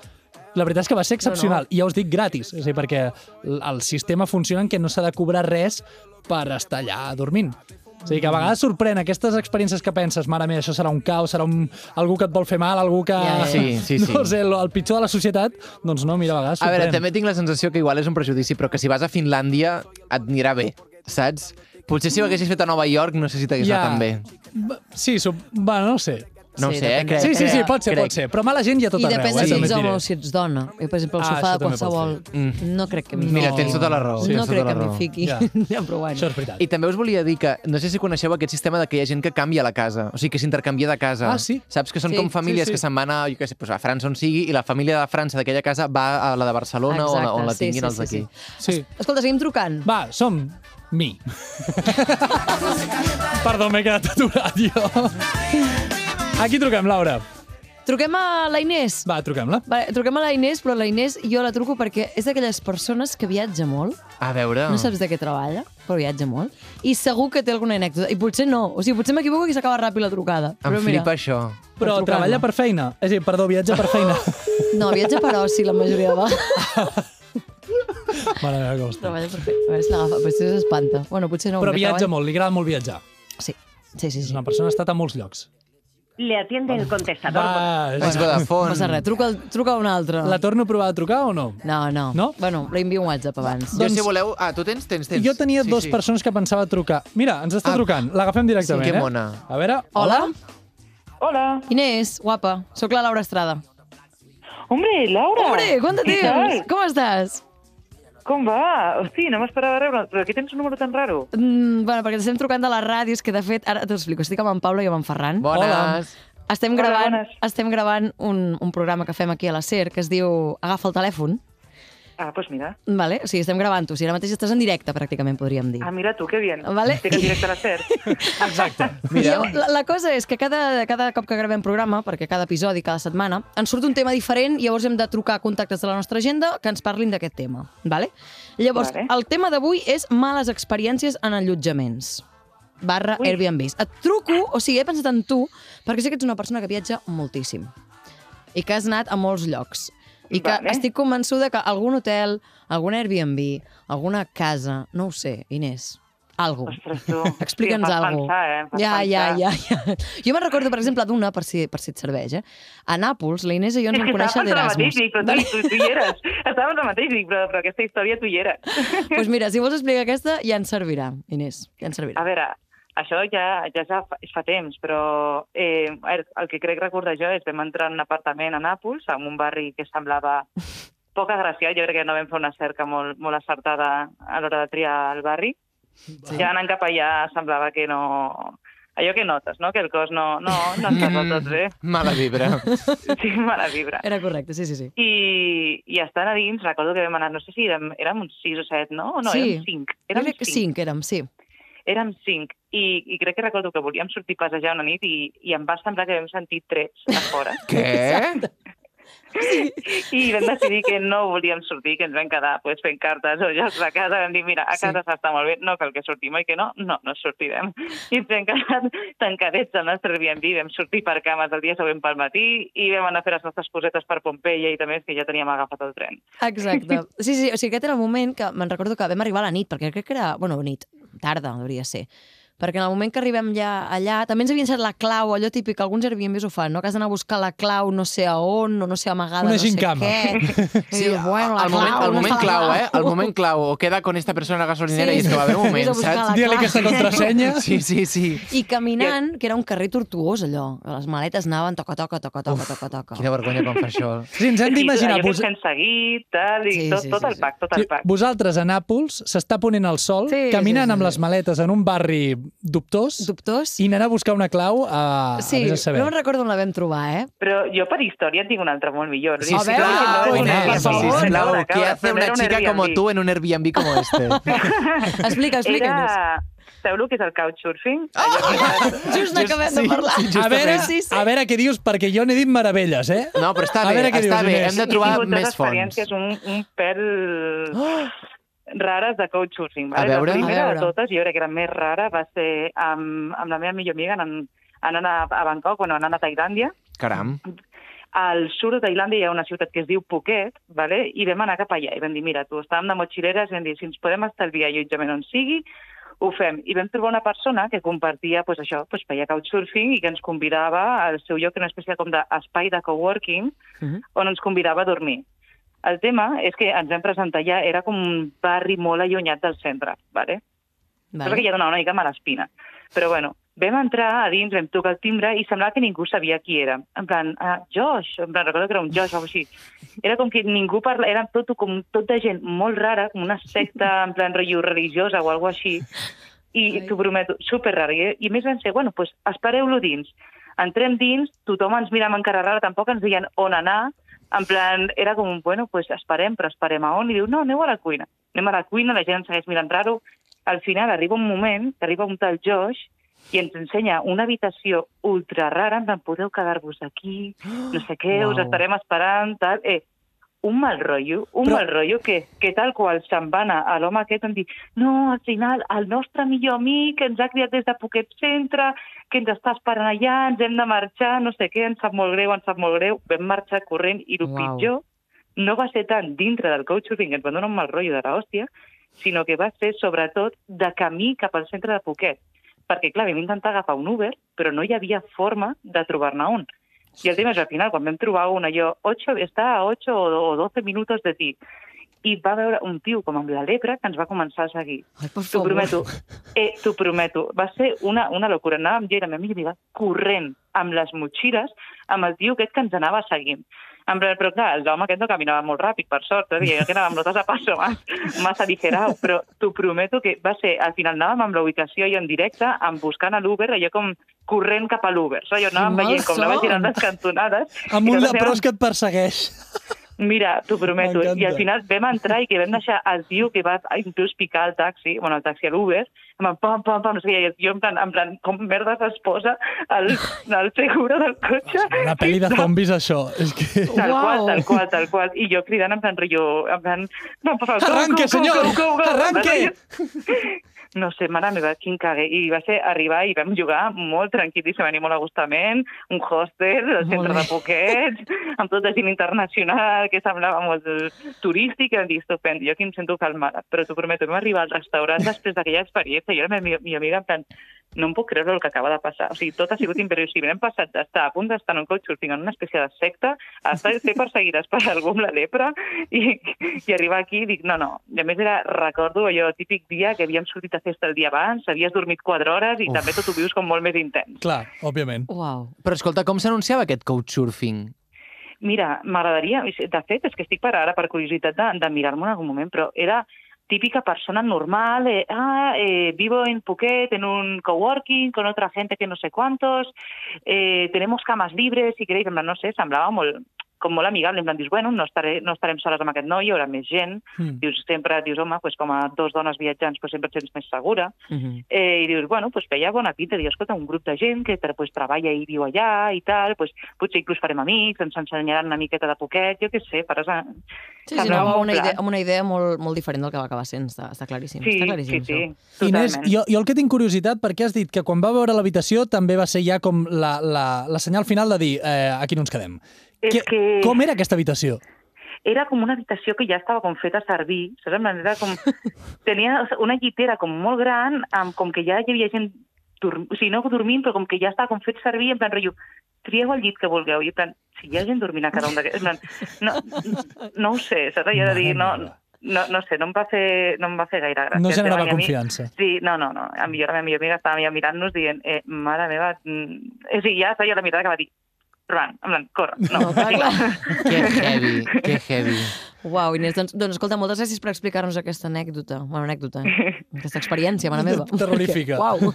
Speaker 2: La veritat és que va ser excepcional, no, no. i ja us dic gratis, és a dir, perquè l- el sistema funciona en què no s'ha de cobrar res per estar allà dormint. O sigui, que a vegades sorprèn aquestes experiències que penses, mare meva, això serà un caos, serà un... algú que et vol fer mal, algú que... *laughs*
Speaker 1: Ja, ja, ja.
Speaker 3: Sí, sí, sí.
Speaker 2: No sé, el, el pitjor de la societat, doncs no, mira, a vegades
Speaker 3: A
Speaker 2: sorprèn.
Speaker 3: veure, també tinc la sensació que igual és un prejudici, però que si vas a Finlàndia et anirà bé, saps? Potser si ho haguessis fet a Nova York no sé si t'hagués
Speaker 2: Ja.
Speaker 3: anat tan bé.
Speaker 2: B- Sí, sub... bueno, no ho sé.
Speaker 3: No ho
Speaker 1: Sí,
Speaker 3: sé, eh?
Speaker 1: depèn de-
Speaker 3: Crec,
Speaker 2: Sí, sí, sí,
Speaker 3: crec,
Speaker 2: pot ser,
Speaker 3: crec.
Speaker 2: pot ser. Però mala gent hi ha tot
Speaker 1: I
Speaker 2: arreu,
Speaker 1: depèn
Speaker 2: eh?
Speaker 1: de si
Speaker 2: també
Speaker 1: ets
Speaker 2: et
Speaker 1: home
Speaker 2: diré.
Speaker 1: o si ets dona. Jo, per exemple, el
Speaker 2: Ah,
Speaker 1: sofà
Speaker 2: això
Speaker 1: de
Speaker 2: també pot
Speaker 1: qualsevol... No crec que m'hi
Speaker 3: Mira,
Speaker 1: fiqui.
Speaker 3: tens tota la raó.
Speaker 2: Sí.
Speaker 1: No
Speaker 3: tens
Speaker 1: crec
Speaker 3: tota
Speaker 1: que
Speaker 3: la
Speaker 1: m'hi
Speaker 3: raó.
Speaker 1: fiqui.
Speaker 2: Ja.
Speaker 1: *laughs* Ja, però bueno.
Speaker 2: Això és veritat.
Speaker 3: I també us volia dir que no sé si coneixeu aquest sistema de que hi ha gent que canvia la casa, o sigui, que s'intercanvia de casa.
Speaker 2: Ah, sí?
Speaker 3: Saps que són
Speaker 1: Sí,
Speaker 3: com famílies
Speaker 2: sí, sí.
Speaker 3: que se'n van a, jo què sé, doncs a França on sigui, i la família de França d'aquella casa va a la de Barcelona o la, on
Speaker 1: Exacte,
Speaker 3: la
Speaker 1: sí,
Speaker 3: tinguin
Speaker 1: sí,
Speaker 3: els d'aquí.
Speaker 1: sí,
Speaker 2: Sí.
Speaker 1: Escolta, seguim trucant.
Speaker 2: Va, som mi. Perdó, m'he quedat aturat jo. Aquí truquem, Laura.
Speaker 1: Truquem a la Inés.
Speaker 2: Va, truquem-la.
Speaker 1: Va, truquem a la Inés, però la Inés jo la truco perquè és d'aquelles persones que viatja molt,
Speaker 3: A veure...
Speaker 2: Ah.
Speaker 1: no saps de què treballa, però viatja molt, i segur que té alguna anècdota. I potser no, o sigui, potser m'equivoco i s'acaba ràpid la trucada.
Speaker 3: Em
Speaker 1: Però mira,
Speaker 3: flipa això.
Speaker 2: Però
Speaker 1: trucar-la.
Speaker 2: treballa per feina. És a dir, perdó, viatja per feina.
Speaker 1: no, viatja per oci la majoria de
Speaker 2: *laughs*
Speaker 1: vegades.
Speaker 2: Mare meva, com està.
Speaker 1: treballa per fer. A veure si l'agafa, potser s'espanta. Bueno, potser no.
Speaker 2: Però
Speaker 1: perquè
Speaker 2: viatja
Speaker 1: treballa-
Speaker 2: molt, li agrada molt viatjar.
Speaker 1: Sí, sí, sí.
Speaker 2: És
Speaker 1: sí.
Speaker 2: una persona que ha estat a molts llocs.
Speaker 6: Le atiende el contestador.
Speaker 2: Va,
Speaker 3: És
Speaker 1: No
Speaker 3: Vodafone.
Speaker 1: passa res, truca, truca un altre.
Speaker 2: la torno a provar a trucar o no?
Speaker 1: No, no.
Speaker 2: No?
Speaker 1: Bueno, li envio un WhatsApp abans.
Speaker 3: Jo,
Speaker 2: Doncs-
Speaker 3: si voleu... Ah, tu tens? Tens, tens.
Speaker 2: Jo tenia
Speaker 3: Sí,
Speaker 2: dos
Speaker 3: sí.
Speaker 2: persones que pensava trucar. Mira, ens està
Speaker 3: Ah,
Speaker 2: trucant. L'agafem directament,
Speaker 3: sí, que
Speaker 2: eh?
Speaker 3: mona.
Speaker 2: A veure...
Speaker 1: Hola.
Speaker 7: Hola.
Speaker 1: Inés, guapa, sóc la Laura Estrada.
Speaker 7: Hombre, Laura.
Speaker 1: Hombre, quant de
Speaker 7: ¿Qué
Speaker 1: temps?
Speaker 7: tal?
Speaker 1: Com estàs?
Speaker 7: Com va? Hosti, no m'esperava rebre, però aquí tens un número tan raro.
Speaker 1: Mm, bueno, perquè estem trucant de les ràdios, que de fet, ara t'ho explico, estic amb en Pablo i amb en Ferran.
Speaker 3: Bones.
Speaker 1: Estem
Speaker 7: Hola,
Speaker 1: gravant,
Speaker 7: bones.
Speaker 1: estem gravant un, un programa que fem aquí a la SER que es diu Agafa el telèfon.
Speaker 7: Ah, doncs mira.
Speaker 1: Vale? O sigui, estem gravant-ho. O sigui, ara mateix estàs en directe, pràcticament, podríem dir.
Speaker 7: Ah, mira tu, que bien.
Speaker 1: Vale.
Speaker 7: Estic en directe a la SER.
Speaker 2: Exacte.
Speaker 1: Mireu, la, la cosa és que cada, cada cop que gravem programa, perquè cada episodi, cada setmana, ens surt un tema diferent i llavors hem de trucar contactes de la nostra agenda que ens parlin d'aquest tema. Vale? Llavors,
Speaker 7: Vale.
Speaker 1: el tema d'avui és males experiències en allotjaments barra
Speaker 7: Ui.
Speaker 1: Airbnb. Et truco, o sigui, he pensat en tu, perquè sé que ets una persona que viatja moltíssim i que has anat a molts llocs i que
Speaker 7: Vale.
Speaker 1: estic convençuda que algun hotel, algun Airbnb, alguna casa, no ho sé, Inés, algo.
Speaker 7: Ostres,
Speaker 1: *laughs*
Speaker 7: tu.
Speaker 1: Explica'ns
Speaker 7: Sí, em fas
Speaker 1: alguna cosa.
Speaker 7: pensar, eh? Em fas
Speaker 1: ja, ja,
Speaker 7: pensar.
Speaker 1: ja, ja. Jo me'n recordo, per exemple, d'una, per, si, per si et serveix, eh? A Nàpols, la Inés i jo ens
Speaker 7: És
Speaker 1: vam
Speaker 7: que
Speaker 1: conèixer
Speaker 7: estava pensant el mateix,
Speaker 1: d'Erasmus.
Speaker 7: dic, però tu, tu, tu hi eres. Estava pensant el mateix, dic, però, però aquesta història tu hi eres.
Speaker 1: Doncs pues mira, si vols explicar aquesta, ja ens servirà, Inés. Ja ens
Speaker 7: A
Speaker 1: servirà.
Speaker 7: veure, això ja, ja es fa, es fa temps, però eh, a veure, el que crec recordar jo és vam entrar en un apartament a Nàpols, en un barri que
Speaker 1: *laughs*
Speaker 7: semblava poc agraciat, jo crec que no vam fer una cerca molt, molt acertada a l'hora de triar el barri. Sí. Ja anant cap allà semblava que no... Allò que notes, no? Que el cos no, no, no està del tot
Speaker 1: *laughs*
Speaker 7: bé.
Speaker 3: Mm, Mala vibra.
Speaker 1: Mm.
Speaker 7: Sí, mala vibra.
Speaker 1: Era correcte, sí, sí, sí.
Speaker 7: I, I estant a dins, recordo que vam anar, no sé si érem, érem uns 6 o 7, no? O no,
Speaker 1: Sí.
Speaker 7: érem 5.
Speaker 1: Jo
Speaker 7: Érem
Speaker 1: crec que
Speaker 7: 5
Speaker 1: cinc érem, sí.
Speaker 7: érem cinc i, i crec que recordo que volíem sortir a passejar una nit i, i em va semblar que vam sentir trets a
Speaker 1: *laughs*
Speaker 7: fora.
Speaker 3: Què?
Speaker 7: I vam decidir que no volíem sortir, que ens vam quedar pues, fent cartes o jocs a casa. Vam dir, mira, a
Speaker 1: Sí.
Speaker 7: casa s'està molt bé, no cal que sortim, oi que no? No, no sortirem. I ens vam quedar tancadets al nostre Airbnb, vam sortir per cames el dia següent pel matí i vam anar a fer les nostres cosetes per Pompeia i també és que ja teníem agafat el tren.
Speaker 1: Exacte. *laughs* Sí, sí, o sigui, aquest era el moment que me'n recordo que vam arribar a la nit, perquè crec que era, bueno, nit, tarda, hauria de ser. Perquè en el moment que arribem ja allà, també ens havia deixat la clau, allò típic, que alguns Airbnbs ho fan, no? Que has d'anar a buscar la clau no sé a on, o no sé amagada,
Speaker 2: Una
Speaker 1: no sé
Speaker 2: gincama.
Speaker 1: què. Sí, bueno, la
Speaker 3: el moment,
Speaker 1: clau,
Speaker 3: el
Speaker 1: no
Speaker 3: moment
Speaker 1: està la
Speaker 3: clau, eh? El moment clau. O queda con esta persona a la gasolinera
Speaker 1: Sí.
Speaker 3: i és que va haver
Speaker 1: Vés a
Speaker 3: un moment,
Speaker 1: buscar la
Speaker 3: saps?
Speaker 2: Digue-li
Speaker 1: clau.
Speaker 2: aquesta contrasenya.
Speaker 3: Sí, sí, sí.
Speaker 1: I caminant, que era un carrer tortuós, allò. Les maletes anaven toca, toca, toca, toca, toca, toca.
Speaker 3: Quina vergonya quan fa això.
Speaker 2: Sí, ens hem d'imaginar...
Speaker 7: allò que
Speaker 2: Vos...
Speaker 7: ens hem seguit, tal, i
Speaker 1: Sí,
Speaker 7: tot,
Speaker 1: sí,
Speaker 7: tot
Speaker 1: sí,
Speaker 7: el
Speaker 1: sí.
Speaker 7: pack, tot
Speaker 2: Sí,
Speaker 7: el pack.
Speaker 2: vosaltres a Nàpols s'està ponent el sol,
Speaker 1: Sí, sí,
Speaker 2: caminant
Speaker 1: sí,
Speaker 2: amb
Speaker 1: sí.
Speaker 2: les maletes en un barri dubtós,
Speaker 1: Dubtós?
Speaker 2: i anar a buscar una clau a,
Speaker 1: Sí,
Speaker 2: a vés a saber.
Speaker 1: no me'n recordo on la vam trobar, eh?
Speaker 7: Però jo per història en tinc una altra molt millor.
Speaker 1: Sí, A sí, veure, clar,
Speaker 7: no,
Speaker 1: pues, per
Speaker 7: no,
Speaker 1: favor.
Speaker 7: no, no, no,
Speaker 3: sisplau,
Speaker 7: no,
Speaker 3: ¿qué
Speaker 7: no,
Speaker 3: hace
Speaker 7: no,
Speaker 3: una
Speaker 7: era un
Speaker 3: chica como
Speaker 7: Airbnb.
Speaker 3: tú en un Airbnb *laughs* como este?
Speaker 1: Explica, explica, Inés.
Speaker 7: Era... Sabeu el que és el couchsurfing? Oh!
Speaker 1: Just n'acabem de parlar.
Speaker 2: a, veure,
Speaker 1: sí, sí.
Speaker 2: a veure què dius, perquè jo n'he dit meravelles, eh?
Speaker 3: No, però està
Speaker 2: A
Speaker 3: bé,
Speaker 2: veure què
Speaker 3: està
Speaker 2: dius,
Speaker 3: bé.
Speaker 2: Inés.
Speaker 3: Hem de trobar més fonts. Ah!
Speaker 7: experiències un, un pèl rares de couchsurfing.
Speaker 3: A veure.
Speaker 7: La primera
Speaker 1: A veure.
Speaker 7: de totes, jo crec que era més rara, va ser amb, amb la meva millor amiga anant, anant a, a Bangkok, bueno, anant a Tailàndia.
Speaker 3: Caram.
Speaker 7: Al sud de Tailàndia hi ha una ciutat que es diu Phuket, vale? i vam anar cap allà. I vam dir, mira, tu estàvem de motxileres, i vam dir, si ens podem estalviar allotjament on sigui, ho fem. I vam trobar una persona que compartia pues, això, pues, feia couchsurfing i que ens convidava al seu lloc, una espècie com d'espai de coworking, uh
Speaker 1: Mhm.
Speaker 7: -huh. on ens convidava a dormir. El tema és que ens vam presentar allà, era com un barri molt allunyat del centre, vale? Vale. Cosa que ja donava una mica mala espina. Però bueno, vam entrar a dins, vam tocar el timbre i semblava que ningú sabia qui era. En plan, ah, Josh, en plan, recordo que era un Josh o alguna cosa així. Era com que ningú parla, era tot, com tota gent molt rara, com una secta, en plan, rotllo religiosa o alguna així. I
Speaker 1: Ai.
Speaker 7: t'ho prometo, super rara. I, I a més vam ser, bueno, doncs espereu-lo dins. Entrem dins, tothom ens mirava amb cara rara, tampoc ens deien on anar, en plan, era com, un, bueno, pues esperem, però esperem a on? I diu, no, aneu a la cuina. Anem a la cuina, la gent ens segueix mirant raro. Al final arriba un moment, que arriba un tal Josh, i ens ensenya una habitació ultra rara, en plan, podeu quedar-vos aquí, no sé què, us
Speaker 2: Uau.
Speaker 7: estarem esperant, tal... Eh, un mal rotllo, un
Speaker 2: Però-
Speaker 7: Però... mal rotllo que, que tal qual se'n va anar a l'home aquest en dir no, al final, el nostre millor amic que ens ha criat des de Poquet Centre, que ens està esperant allà, ens hem de marxar, no sé què, ens sap molt greu, ens sap molt greu, vam marxar corrent i el
Speaker 1: Uau.
Speaker 7: pitjor no va ser tant dintre del couchsurfing, que ens van donar un mal rotllo de la hòstia, sinó que va ser, sobretot, de camí cap al centre de Poquet. Perquè, clar, vam intentar agafar un Uber, però no hi havia forma de trobar-ne un. I el tema és, al final, quan vam trobar un, allò, 8, està a 8 o 12 minuts de ti. I va veure un tio com amb la lepra que ens va començar a seguir.
Speaker 1: Ai, per
Speaker 7: T'ho
Speaker 1: favor.
Speaker 7: prometo. Eh, T'ho prometo. Va ser una, una locura. Anàvem jo i la meva millor amiga corrent amb les motxilles amb el tio aquest que ens anava seguint. En plan, però clar, l'home aquest no caminava molt ràpid, per sort, eh? jo que anava amb notes a passo más, más aligerado, però t'ho prometo que va ser, al final anàvem amb la ubicació i en directe, em buscant a l'Uber, allò com corrent cap a l'Uber, saps? Jo anava
Speaker 2: Mal
Speaker 7: veient com anava
Speaker 2: son.
Speaker 7: girant les cantonades. i
Speaker 2: Amb un
Speaker 7: nosaltres
Speaker 2: leprós
Speaker 7: érem-
Speaker 2: que et persegueix.
Speaker 7: Mira, t'ho prometo.
Speaker 2: M'encanta.
Speaker 7: I al final vam entrar i que vam deixar el tio que va inclús picar el taxi, bueno, el taxi a l'Uber, en plan, pam, pam, pam, no sé què, i jo en plan, en plan com merda s'esposa el, el seguro del cotxe.
Speaker 2: Una pel·li de zombis, això. És que...
Speaker 7: Tal qual,
Speaker 1: Uau.
Speaker 7: tal qual, tal qual. I jo cridant en plan rotllo, en plan... No, por favor, go,
Speaker 2: Arranque,
Speaker 7: go, go,
Speaker 2: senyor!
Speaker 7: go, go, go.
Speaker 2: Arranque!
Speaker 7: No sé, mare meva, quin cague. I va ser arribar i vam jugar molt tranquil·líssimament i molt a gustament, un hòstel, el
Speaker 1: Molt
Speaker 7: centre
Speaker 1: bé.
Speaker 7: de poquets, amb tota gent internacional que semblava molt eh, turístic, i vam dir, estupend, jo aquí em sento calmada. Però t'ho prometo, vam arribar al restaurant després d'aquella experiència, i jo era mi, mi amiga en plan, no em puc creure el que acaba de passar. O sigui, tot ha sigut imprevisible. Hem passat d'estar a punt d'estar en un couchsurfing en una espècie de secta a estar ser perseguides per algú amb la lepra i, i arribar aquí i dic, no, no. I a més era, recordo allò típic dia que havíem sortit a festa el dia abans, havies dormit 4 hores i
Speaker 3: Uf.
Speaker 7: Uf. també tot ho vius com molt més intens.
Speaker 2: Clar, òbviament.
Speaker 1: Uau.
Speaker 3: Però escolta, com s'anunciava aquest couchsurfing?
Speaker 7: Mira, m'agradaria... De fet, és que estic per ara per curiositat de, de mirar-me en algun moment, però era típica persona normal, eh, ah, eh, vivo en Phuket, en un coworking, con otra gente que no sé cuántos, eh, tenemos camas libres, si queréis, en plan, no sé, semblava molt, com molt amigable, en plan, dius, bueno, no, estaré, no estarem soles amb aquest noi, hi haurà més gent,
Speaker 2: Mm.
Speaker 7: dius, sempre, dius, home, pues, com a dos dones viatjants, pues, sempre et sents més segura,
Speaker 1: Mhm.
Speaker 7: Eh, I dius, bueno, pues feia bona pinta, dius, escolta, un grup de gent que tra- pues, treballa i viu allà i tal, pues, potser inclús farem amics, ens ensenyaran una miqueta de poquet, jo què sé, faràs... A...
Speaker 1: Sí, sí,
Speaker 7: Semblava
Speaker 1: anava amb
Speaker 7: un
Speaker 1: una
Speaker 7: plan.
Speaker 1: idea, amb una idea molt, molt diferent del que va acabar sent, està, està claríssim.
Speaker 7: Sí,
Speaker 1: està
Speaker 7: sí,
Speaker 1: claríssim,
Speaker 7: sí,
Speaker 1: això.
Speaker 7: totalment.
Speaker 2: Inés, jo, jo el que tinc curiositat, perquè has dit que quan va veure l'habitació també va ser ja com la, la, la senyal final de dir eh, aquí no ens quedem.
Speaker 7: És
Speaker 2: Que,
Speaker 7: que-
Speaker 2: Com era aquesta habitació?
Speaker 7: era com una habitació que ja estava com feta a servir, saps? En plan, Era com... Tenia una llitera com molt gran, amb, com que ja hi havia gent dorm... o sigui, no dormint, però com que ja estava com fet servir, en plan, rotllo, trieu el llit que vulgueu, i en plan, si hi ha gent dormint a cada un d'aquests, en plan, no, no ho sé, saps? Jo he de dir, no,
Speaker 2: Mare meva.
Speaker 7: no, no sé, no em va fer, no em va fer gaire gràcia.
Speaker 2: No generava
Speaker 7: Em va dir a mi-
Speaker 2: confiança.
Speaker 7: Sí, no, no, no. A mi, jo, la meva millor amiga estava ja mirant-nos dient, eh, mare meva... Mm... O sigui, ja feia la mirada que va dir, run, en plan, corre. No,
Speaker 1: No, clar, clar.
Speaker 3: Que heavy, que heavy.
Speaker 1: Uau, Inés, doncs, doncs escolta, moltes gràcies per explicar-nos aquesta anècdota, bueno, anècdota, eh? aquesta experiència, mare meva.
Speaker 2: Terrorífica.
Speaker 1: *laughs* Uau.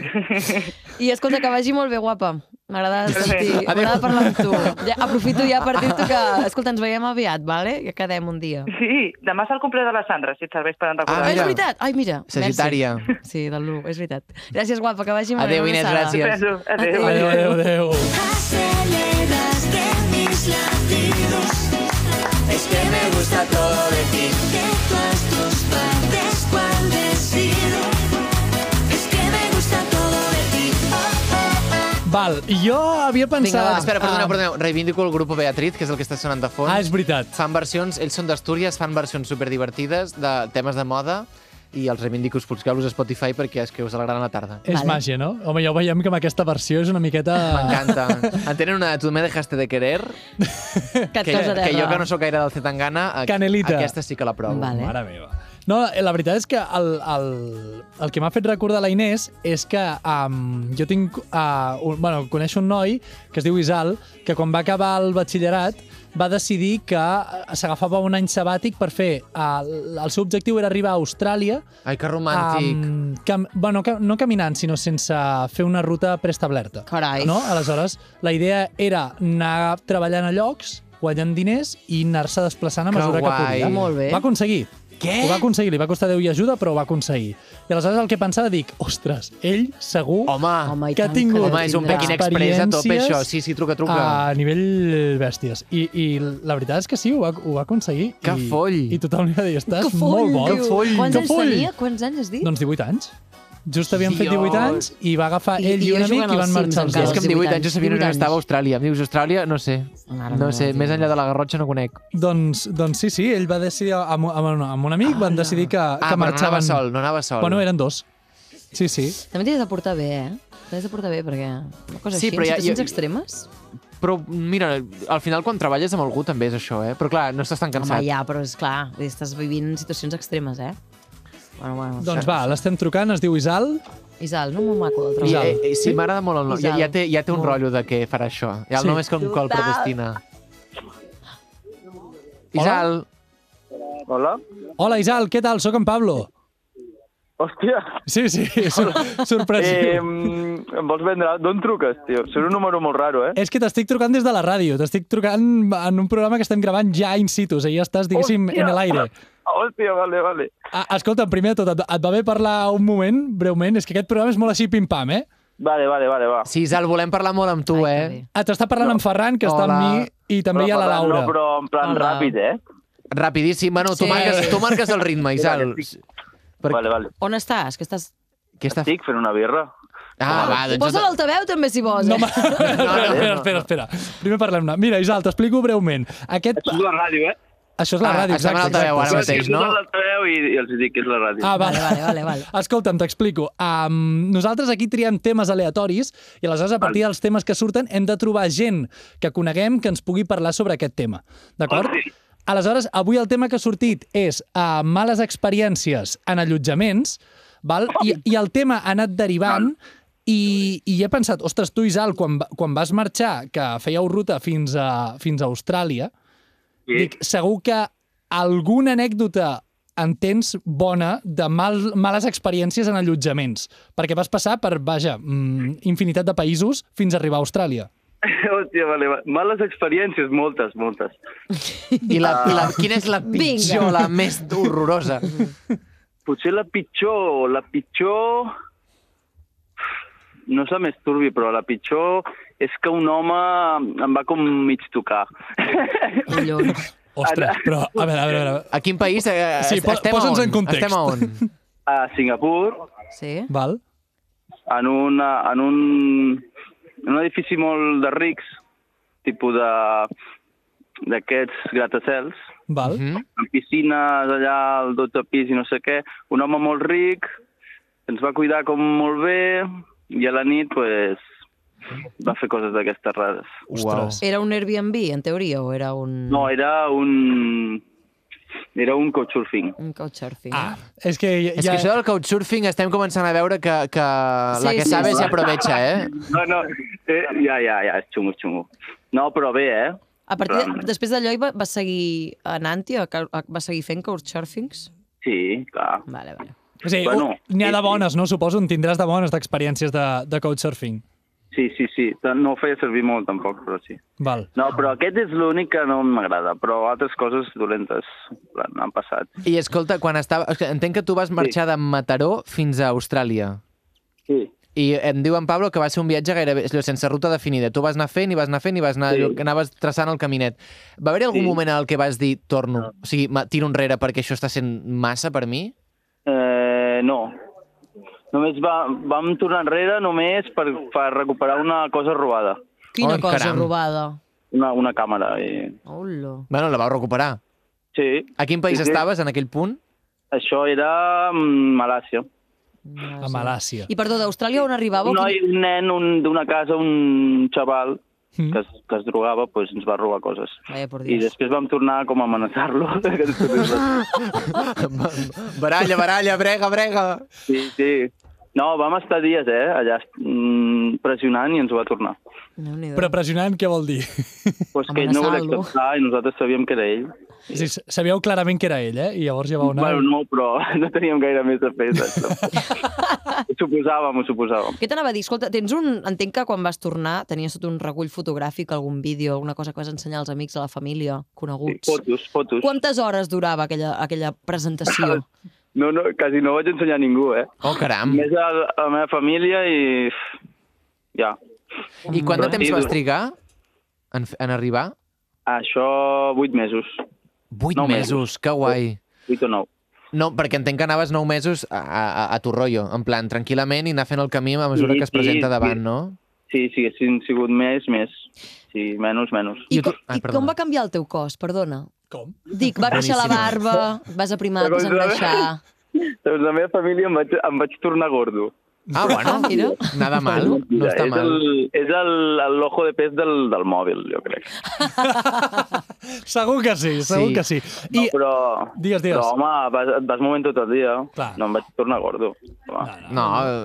Speaker 1: I escolta, que vagi molt bé, guapa. M'agrada sentir,
Speaker 3: Adéu.
Speaker 1: m'agrada parlar amb tu. Ja, aprofito ja per dir-te que, escolta, ens veiem aviat, vale? que quedem un dia.
Speaker 7: Sí, demà és el cumple de la Sandra, si et serveix per
Speaker 1: Ah,
Speaker 3: Ah,
Speaker 7: recordar.
Speaker 1: és
Speaker 3: mira.
Speaker 1: veritat. Ai, mira. merci.
Speaker 3: Sagitària.
Speaker 1: Sí, del l'1, és veritat. Gràcies, guapa, que vagi molt bé.
Speaker 3: Adéu,
Speaker 1: Una
Speaker 3: Inés,
Speaker 1: abraçada.
Speaker 3: gràcies.
Speaker 7: Adéu. Adéu.
Speaker 2: Adéu, adéu, adéu.
Speaker 8: aceleras de mis latidos. Es que me gusta todo de ti. Que todas tus partes cual decido. Es que me gusta todo de ti. Oh, oh, oh.
Speaker 2: Val, jo havia pensat...
Speaker 1: va,
Speaker 3: Espera, perdoneu,
Speaker 2: Ah,
Speaker 3: perdoneu. Reivindico el grup Beatriz, que és el que està sonant de fons.
Speaker 2: Ah, és veritat.
Speaker 3: Fan versions, ells són d'Astúries, fan versions superdivertides de temes de moda i els reivindico, us busqueu-los a Spotify perquè és que us alegraran la tarda.
Speaker 2: És
Speaker 1: Vale.
Speaker 2: màgia, no? Home, ja ho veiem que amb aquesta versió és una miqueta...
Speaker 3: M'encanta. En tenen una de Tu me dejaste de querer,
Speaker 1: Que et
Speaker 3: que,
Speaker 1: caus a
Speaker 3: que jo
Speaker 1: terra.
Speaker 3: que no sóc gaire del Zetangana, a-
Speaker 2: Canelita.
Speaker 3: aquesta sí que la provo.
Speaker 1: Vale.
Speaker 2: Mare meva. No, eh, la veritat és que el, el, el que m'ha fet recordar la Inés és que um, jo tinc... Uh, un, bueno, coneixo un noi que es diu Isal, que quan va acabar el batxillerat va decidir que eh, s'agafava un any sabàtic per fer... Uh, el seu objectiu era arribar a Austràlia
Speaker 3: Ai, que romàntic. Um...
Speaker 2: Amb, cam, bueno, ca, no caminant, sinó sense fer una ruta preestablerta.
Speaker 1: Carai.
Speaker 2: No? Aleshores, la idea era anar treballant a llocs, guanyant diners i anar-se desplaçant a
Speaker 3: Que
Speaker 2: mesura que,
Speaker 3: guai.
Speaker 2: podia.
Speaker 1: Molt bé.
Speaker 2: Va aconseguir. Què? Ho va aconseguir, li va costar Déu i ajuda, però ho va aconseguir. I aleshores el que pensava, dic, ostres, ell segur
Speaker 3: Home,
Speaker 1: Home,
Speaker 3: Home,
Speaker 1: i
Speaker 2: que ha
Speaker 1: tant,
Speaker 2: tingut
Speaker 1: com
Speaker 3: home, és un
Speaker 1: tindrà.
Speaker 3: Pekin Express a tope,
Speaker 2: experiències Ah,
Speaker 3: això. Sí, sí, truca, truca.
Speaker 2: a nivell bèsties. I, I la veritat és que sí, ho va, ho va aconseguir.
Speaker 3: Que
Speaker 2: I,
Speaker 3: foll.
Speaker 2: I tothom li va dir, estàs
Speaker 1: Que
Speaker 2: molt
Speaker 1: foll,
Speaker 2: bo.
Speaker 1: diu. Quants
Speaker 2: que
Speaker 1: anys
Speaker 2: foll.
Speaker 1: tenia? Quants anys has dit?
Speaker 2: Doncs 18 anys. Just havien fet
Speaker 3: Dios.
Speaker 2: 18 anys i va agafar
Speaker 1: I-
Speaker 2: ell
Speaker 1: i
Speaker 2: i, un
Speaker 1: jo jugant
Speaker 2: amic i
Speaker 1: als
Speaker 2: van
Speaker 1: Sims
Speaker 2: marxar els
Speaker 1: encara.
Speaker 3: És
Speaker 2: dos.
Speaker 3: que amb 18 anys jo sabia
Speaker 1: 18
Speaker 3: on
Speaker 1: anys.
Speaker 3: estava a Austràlia. Em dius Austràlia? No sé.
Speaker 1: Mare
Speaker 3: no
Speaker 1: meva,
Speaker 3: sé,
Speaker 1: tio.
Speaker 3: més enllà de la Garrotxa no conec.
Speaker 2: Doncs, doncs sí, sí, ell va decidir, amb, amb, un- amb un amic, van decidir que,
Speaker 3: Ah,
Speaker 2: que
Speaker 3: però no anava
Speaker 2: marxaven...
Speaker 3: sol, no anava sol.
Speaker 2: Bueno, eren dos. Sí, sí.
Speaker 1: També t'has de portar bé, eh? T'has de portar bé, perquè una cosa
Speaker 3: Sí,
Speaker 1: així,
Speaker 3: però
Speaker 1: en
Speaker 3: ja-
Speaker 1: situacions
Speaker 3: jo-
Speaker 1: extremes...
Speaker 3: Però mira, al final quan treballes amb algú també és això, eh? Però clar, no estàs tan
Speaker 1: Home,
Speaker 3: cansat.
Speaker 1: ja, però és clar, vull dir, estàs vivint en situacions extremes, eh? Bueno, bueno,
Speaker 2: Doncs va, l'estem trucant, es diu Isal.
Speaker 1: Isal, no m'ho maco del
Speaker 3: I,
Speaker 1: treball.
Speaker 3: eh, eh, sí, m'agrada molt el nom. Ja,
Speaker 1: Isal.
Speaker 3: ja, té, ja té un
Speaker 1: Molt.
Speaker 3: rotllo de que farà això. Ja el
Speaker 2: Sí.
Speaker 3: nom és com Col Predestina. Isal,
Speaker 9: Hola.
Speaker 2: Hola, Isal, què tal? Sóc en Pablo.
Speaker 9: Hòstia.
Speaker 2: Sí, *laughs* sí, sor
Speaker 9: Eh,
Speaker 2: sorpresiu.
Speaker 9: mm, em vols vendre? D'on truques, tio? Surt un número molt raro, eh?
Speaker 2: És que t'estic trucant des de la ràdio, t'estic trucant en un programa que estem gravant ja in situ, o sigui, ja estàs, diguéssim, en l'aire.
Speaker 9: Hòstia, vale, vale.
Speaker 2: Ah, Escolta, primer de tot, et, et va bé parlar un moment, breument? És que aquest programa és molt així pim-pam, eh?
Speaker 9: Vale, vale, vale, va.
Speaker 3: sí, Isal, volem parlar molt amb tu, eh?
Speaker 2: Ah, t'està parlant no. en Ferran, que està amb
Speaker 3: Hola.
Speaker 2: mi, i també hi ha la
Speaker 9: Ferran,
Speaker 2: Laura.
Speaker 9: No, però en plan
Speaker 1: Hola.
Speaker 9: ràpid, eh?
Speaker 3: Rapidíssim. Bueno, tu,
Speaker 1: Sí.
Speaker 3: marques, tu marques el ritme, Isal.
Speaker 9: que estic-
Speaker 3: Per-
Speaker 9: Vale, vale.
Speaker 1: On estàs? Que estàs...
Speaker 3: Què està...
Speaker 9: Estic fent una birra.
Speaker 3: Ah, va, doncs...
Speaker 1: Posa l'altaveu també, si vols. eh?
Speaker 2: No,
Speaker 1: No, *laughs*
Speaker 2: ma... no, no, espera, espera, espera. Primer parlem-ne. Mira, Isal, t'explico breument. Aquest...
Speaker 9: És la ràdio, eh?
Speaker 2: Això és la
Speaker 3: Ah,
Speaker 2: ràdio, exacte.
Speaker 3: estem en altaveu
Speaker 2: exacte.
Speaker 3: ara
Speaker 2: Sí, sí.
Speaker 3: mateix, no?
Speaker 9: l'altaveu i, i els dic que és la
Speaker 2: *laughs*
Speaker 9: ràdio.
Speaker 2: Ah, vale.
Speaker 1: Vale, vale, vale, vale.
Speaker 2: Escolta'm, t'explico. Um, nosaltres aquí triem temes aleatoris i aleshores a partir dels temes que surten hem de trobar gent que coneguem que ens pugui parlar sobre aquest tema.
Speaker 9: Ah,
Speaker 2: D'acord? Aleshores, avui el tema que ha sortit és uh, males experiències en allotjaments, val? I, i el tema ha anat derivant i, i he pensat, ostres, tu, Isal, quan, va- quan vas marxar, que fèieu ruta fins a, fins a Austràlia,
Speaker 9: Sí.
Speaker 2: Dic, segur que alguna anècdota en tens bona de mal, males experiències en allotjaments, perquè vas passar per, vaja, mm, infinitat de països fins a arribar a Austràlia.
Speaker 9: *laughs* Hòstia, vale, vale. Males experiències, moltes, moltes.
Speaker 3: I la, la, quina és la
Speaker 1: Vinga.
Speaker 3: pitjor, la més horrorosa?
Speaker 9: Potser la pitjor, la pitjor... No és la més turbi, però la pitjor és que un home em va com mig tocar.
Speaker 1: Collons.
Speaker 2: Ostres, però, a veure, a veure, a veure.
Speaker 3: A quin país? Eh,
Speaker 2: Sí, po-
Speaker 3: estem a
Speaker 2: posa'ns
Speaker 3: on?
Speaker 2: en context.
Speaker 3: Estem a
Speaker 2: *laughs*
Speaker 3: on?
Speaker 9: A Singapur,
Speaker 1: Sí?
Speaker 2: Val?
Speaker 9: en, una, en, un, en un edifici molt de rics, tipus de d'aquests gratacels,
Speaker 2: Val?
Speaker 3: Mm?
Speaker 9: amb piscines allà al 12 pis i no sé què, un home molt ric, ens va cuidar com molt bé, i a la nit, pues, va fer coses d'aquestes rares.
Speaker 2: Ostres.
Speaker 1: Era un Airbnb, en teoria, o era un...
Speaker 9: No, era un... Era un couchsurfing.
Speaker 1: Un couchsurfing.
Speaker 2: Ah, és que ja...
Speaker 3: És que això del couchsurfing estem començant a veure que, que la
Speaker 1: Sí,
Speaker 3: que
Speaker 1: sí,
Speaker 3: sabes
Speaker 1: sí.
Speaker 3: ja aprovecha, eh?
Speaker 9: No, no, eh, ja, ja, ja, és xungo, xungo. No, però bé, eh?
Speaker 1: A partir de,
Speaker 9: Realment.
Speaker 1: després d'allò hi va, va seguir anant-hi, a cou- a- va seguir fent couchsurfings?
Speaker 9: Sí, clar.
Speaker 1: Vale, vale.
Speaker 2: O sigui,
Speaker 9: Bueno,
Speaker 2: bueno, N'hi ha de
Speaker 9: sí, sí.
Speaker 2: bones, no? Suposo en tindràs de bones d'experiències de, de couchsurfing.
Speaker 9: Sí, sí, sí. No ho feia servir molt, tampoc, però sí.
Speaker 2: Val.
Speaker 9: No, però aquest és l'únic que no m'agrada, però altres coses dolentes en plan, han passat.
Speaker 3: I escolta, quan estava... és que Entenc que tu vas marxar de Mataró fins a Austràlia.
Speaker 9: Sí.
Speaker 3: I em diu en Pablo que va ser un viatge gairebé allò, sense ruta definida. Tu vas anar fent i vas anar fent i vas anar,
Speaker 9: Sí.
Speaker 3: sí. anaves traçant el caminet. Va haver-hi algun
Speaker 9: Sí.
Speaker 3: moment en el que vas dir torno? O sigui, ma- tiro enrere perquè això està sent massa per mi?
Speaker 9: Eh, no. Només va, vam tornar enrere només per, per recuperar una cosa robada,
Speaker 1: Quina
Speaker 3: Ai,
Speaker 1: cosa
Speaker 3: Oh, caram.
Speaker 1: robada.
Speaker 9: una, una càmera. I...
Speaker 1: Hola.
Speaker 3: Bueno, la vau recuperar.
Speaker 9: Sí,
Speaker 3: A quin país
Speaker 9: Sí, sí.
Speaker 3: estaves en aquell punt?
Speaker 9: això era mm, Malàcia.
Speaker 3: Ah,
Speaker 2: A Malàcia.
Speaker 1: I perdó, d'Austràlia on arribava?
Speaker 9: Un noi,
Speaker 1: Quin-
Speaker 9: un nen un- d'una casa, un xaval
Speaker 2: Mm.
Speaker 9: que es, que es drogava, pues, ens va robar coses.
Speaker 1: Vaya, por
Speaker 9: I
Speaker 1: Dios.
Speaker 9: després vam tornar com a amenaçar-lo. *laughs* que ens tornés a-
Speaker 3: baralla, baralla, brega, brega.
Speaker 9: sí, sí. No, vam estar dies, eh, allà mm, pressionant i ens ho va tornar.
Speaker 1: No, ni
Speaker 2: Però pressionant, què
Speaker 3: *laughs*
Speaker 2: vol dir?
Speaker 9: Pues que ell no volia
Speaker 1: Amenaçar-lo.
Speaker 9: acceptar i nosaltres sabíem que era ell.
Speaker 2: O sigui, sabíeu clarament que era ell, eh? I llavors ja vau anar...
Speaker 9: Bueno, no, però *laughs* no teníem gaire més a fer. saps? Ho suposàvem, ho suposàvem.
Speaker 1: Què t'anava a dir? Escolta, tens un... Entenc que quan vas tornar tenies tot un recull fotogràfic, algun vídeo, alguna cosa que vas ensenyar als amics, a la família,
Speaker 9: Sí,
Speaker 1: coneguts.
Speaker 9: fotos, fotos.
Speaker 1: Quantes hores durava aquella, aquella presentació?
Speaker 9: Ah, No, no, quasi no vaig ensenyar a ningú, eh?
Speaker 3: Oh, caram.
Speaker 9: Més a, la- a la meva família i... Ja.
Speaker 3: I quant de temps
Speaker 9: Però-
Speaker 3: vas trigar en, en arribar?
Speaker 9: Això, vuit mesos.
Speaker 3: Vuit
Speaker 9: Nou mesos.
Speaker 3: mesos, que guai.
Speaker 9: Vuit o nou.
Speaker 3: No, perquè entenc que anaves nou mesos a, a, a tu rotllo, en plan, tranquil·lament i anar fent el camí a mesura
Speaker 9: Sí,
Speaker 3: que es
Speaker 9: sí,
Speaker 3: presenta
Speaker 9: sí.
Speaker 3: davant, no?
Speaker 9: Sí, si haguessin sigut més, més. Sí, menys, menys.
Speaker 1: I,
Speaker 3: Jo
Speaker 1: com,
Speaker 3: tu- Ah,
Speaker 1: i com
Speaker 3: perdona.
Speaker 1: va canviar el teu cos? Perdona.
Speaker 2: Com?
Speaker 1: Dic, va baixar la
Speaker 3: Boníssima.
Speaker 1: barba, vas aprimar, vas
Speaker 9: Segons la-
Speaker 1: engreixar...
Speaker 9: Segons la meva família em vaig, em vaig tornar gordo.
Speaker 3: Ah, bueno,
Speaker 1: Ah, mira.
Speaker 3: nada
Speaker 9: *laughs*
Speaker 3: mal, no està
Speaker 9: és
Speaker 3: mal.
Speaker 9: El, és el- el- l'ojo de pes del, del mòbil, jo crec.
Speaker 2: Segur que sí, segur
Speaker 3: Sí.
Speaker 2: que sí.
Speaker 9: No,
Speaker 2: I,
Speaker 9: però...
Speaker 2: Digues, digues.
Speaker 9: Però, home, vas, et vas movent tot el dia.
Speaker 2: Clar.
Speaker 9: No em vaig tornar gordo. Va.
Speaker 3: No,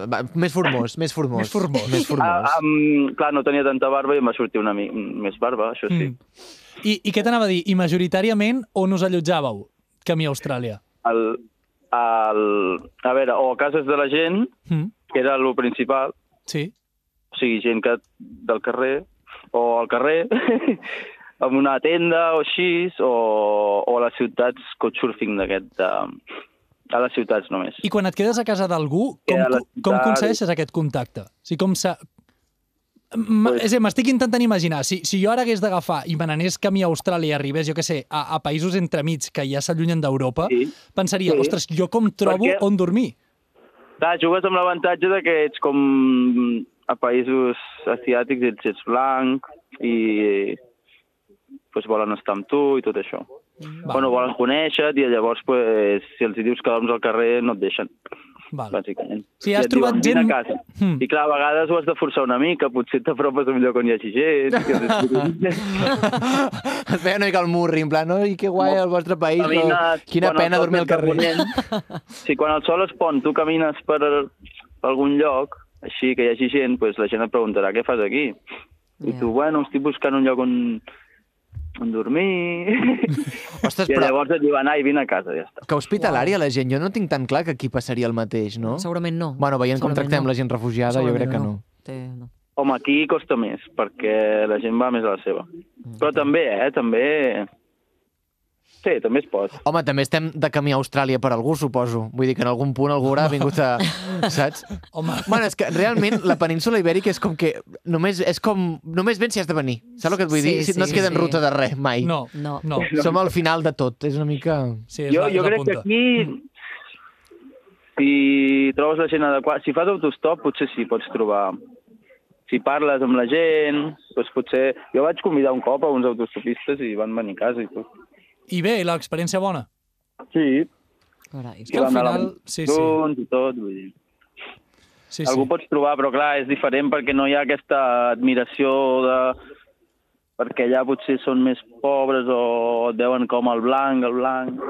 Speaker 3: va, més formós, més formós.
Speaker 2: Més formós.
Speaker 3: Més formós.
Speaker 9: Ah, um, clar, no tenia tanta barba i em va sortir una mi més barba, això sí.
Speaker 2: Mm. I, I què t'anava a dir? I majoritàriament on us allotjàveu? Camí a Austràlia.
Speaker 9: El, el, a veure, o a cases de la gent,
Speaker 2: Mm.
Speaker 9: que era el principal,
Speaker 2: Sí.
Speaker 9: o sigui, gent que, del carrer, o al carrer, *laughs* amb una tenda o així, o, o a les ciutats, couchsurfing d'aquest... De, a les ciutats només.
Speaker 2: I quan et quedes a casa d'algú,
Speaker 9: Eh,
Speaker 2: com,
Speaker 9: a la
Speaker 2: co- com
Speaker 9: ciutat-
Speaker 2: aconsegueixes aquest contacte? O sigui, com s'ha... M- És a dir, m'estic intentant imaginar, si, si jo ara hagués d'agafar i me n'anés camí a Austràlia i arribés, jo què sé, a, a països entremig que ja s'allunyen d'Europa, sí.
Speaker 9: Sí.
Speaker 2: pensaria,
Speaker 9: Sí.
Speaker 2: ostres, jo com trobo
Speaker 9: Perquè-
Speaker 2: on dormir?
Speaker 9: Clar, jugues amb l'avantatge de que ets com a països asiàtics, ets, ets blanc i pues, volen estar amb tu i tot això.
Speaker 2: Va.
Speaker 9: Va. Bueno, volen conèixer i llavors pues, si els hi dius que dorms al carrer no et deixen,
Speaker 2: Val.
Speaker 9: bàsicament.
Speaker 2: Sí,
Speaker 9: I
Speaker 2: has
Speaker 9: et diuen,
Speaker 2: trobat
Speaker 9: "Vine
Speaker 2: gent-
Speaker 9: A casa.
Speaker 2: Hmm.
Speaker 9: I clar, a vegades ho has de forçar una mica, potser t'apropes millor quan hi hagi gent.
Speaker 2: *laughs*
Speaker 9: Que els expliquis.
Speaker 3: *laughs* Et feia una mica el murri, en plan, no, i que guai el vostre país, però
Speaker 9: Camines,
Speaker 3: quina
Speaker 9: quan el
Speaker 3: pena
Speaker 9: sol
Speaker 3: dormir al
Speaker 9: és de
Speaker 3: carrer. *laughs*
Speaker 9: ponent. Sí, quan el sol es pon, tu camines per, per algun lloc, així que hi hagi gent, doncs la gent et preguntarà què fas aquí. I
Speaker 1: Ja.
Speaker 9: tu, bueno, estic buscant un lloc on, on dormir...
Speaker 3: Ostres,
Speaker 9: I
Speaker 3: però
Speaker 9: llavors et diuen, ai, vine a casa, ja està.
Speaker 3: que hospitalària la gent, jo no tinc tan clar que aquí passaria el mateix, no?
Speaker 1: Segurament no.
Speaker 3: Bueno, veient com
Speaker 1: Segurament
Speaker 3: tractem
Speaker 1: no.
Speaker 3: la gent refugiada, jo
Speaker 1: Segurament
Speaker 3: crec que no.
Speaker 1: Té, no.
Speaker 9: Home, aquí costa més, perquè la gent va més a la seva. Però també, eh, també... Sí, també es pot.
Speaker 3: Home, també estem de camí a Austràlia per algú, suposo. Vull dir que en algun punt algú haurà vingut a... Saps?
Speaker 2: Home.
Speaker 3: Bueno, és que realment la península ibèrica és com que només, és com, només vens si has de venir. Saps el que et vull
Speaker 1: Sí,
Speaker 3: dir? Si
Speaker 1: sí,
Speaker 3: no es queda en
Speaker 1: sí.
Speaker 3: ruta de res, mai.
Speaker 2: No, no.
Speaker 1: No.
Speaker 2: no.
Speaker 3: Som al final de tot. És una mica...
Speaker 2: Sí, és
Speaker 9: jo,
Speaker 2: la, és
Speaker 9: jo
Speaker 2: la
Speaker 9: crec
Speaker 2: punta.
Speaker 9: que aquí, si trobes la gent adequada, si fas autostop, potser sí, pots trobar... Si parles amb la gent, doncs potser... Jo vaig convidar un cop a uns autostopistes i van venir a casa i tot.
Speaker 2: I bé, i l'experiència bona.
Speaker 9: Sí,
Speaker 1: Carai.
Speaker 2: que al final- sí,
Speaker 9: sí,
Speaker 2: sí.
Speaker 9: sí. i tot, vull dir.
Speaker 2: Sí,
Speaker 9: Sí,
Speaker 2: sí.
Speaker 9: Algú pots trobar, però clar, és diferent perquè no hi ha aquesta admiració de perquè allà potser són més pobres o et veuen com el blanc, el blanc...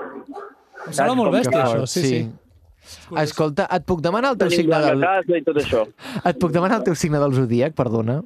Speaker 2: Em sembla molt
Speaker 9: com que
Speaker 2: bèstia,
Speaker 9: fa-
Speaker 2: això. Sí, sí.
Speaker 3: Escolta, et puc demanar el teu
Speaker 9: Tenim
Speaker 3: signe
Speaker 9: blanc
Speaker 3: del...
Speaker 9: a casa i tot això.
Speaker 3: Et puc demanar el teu signe del zodíac, perdona?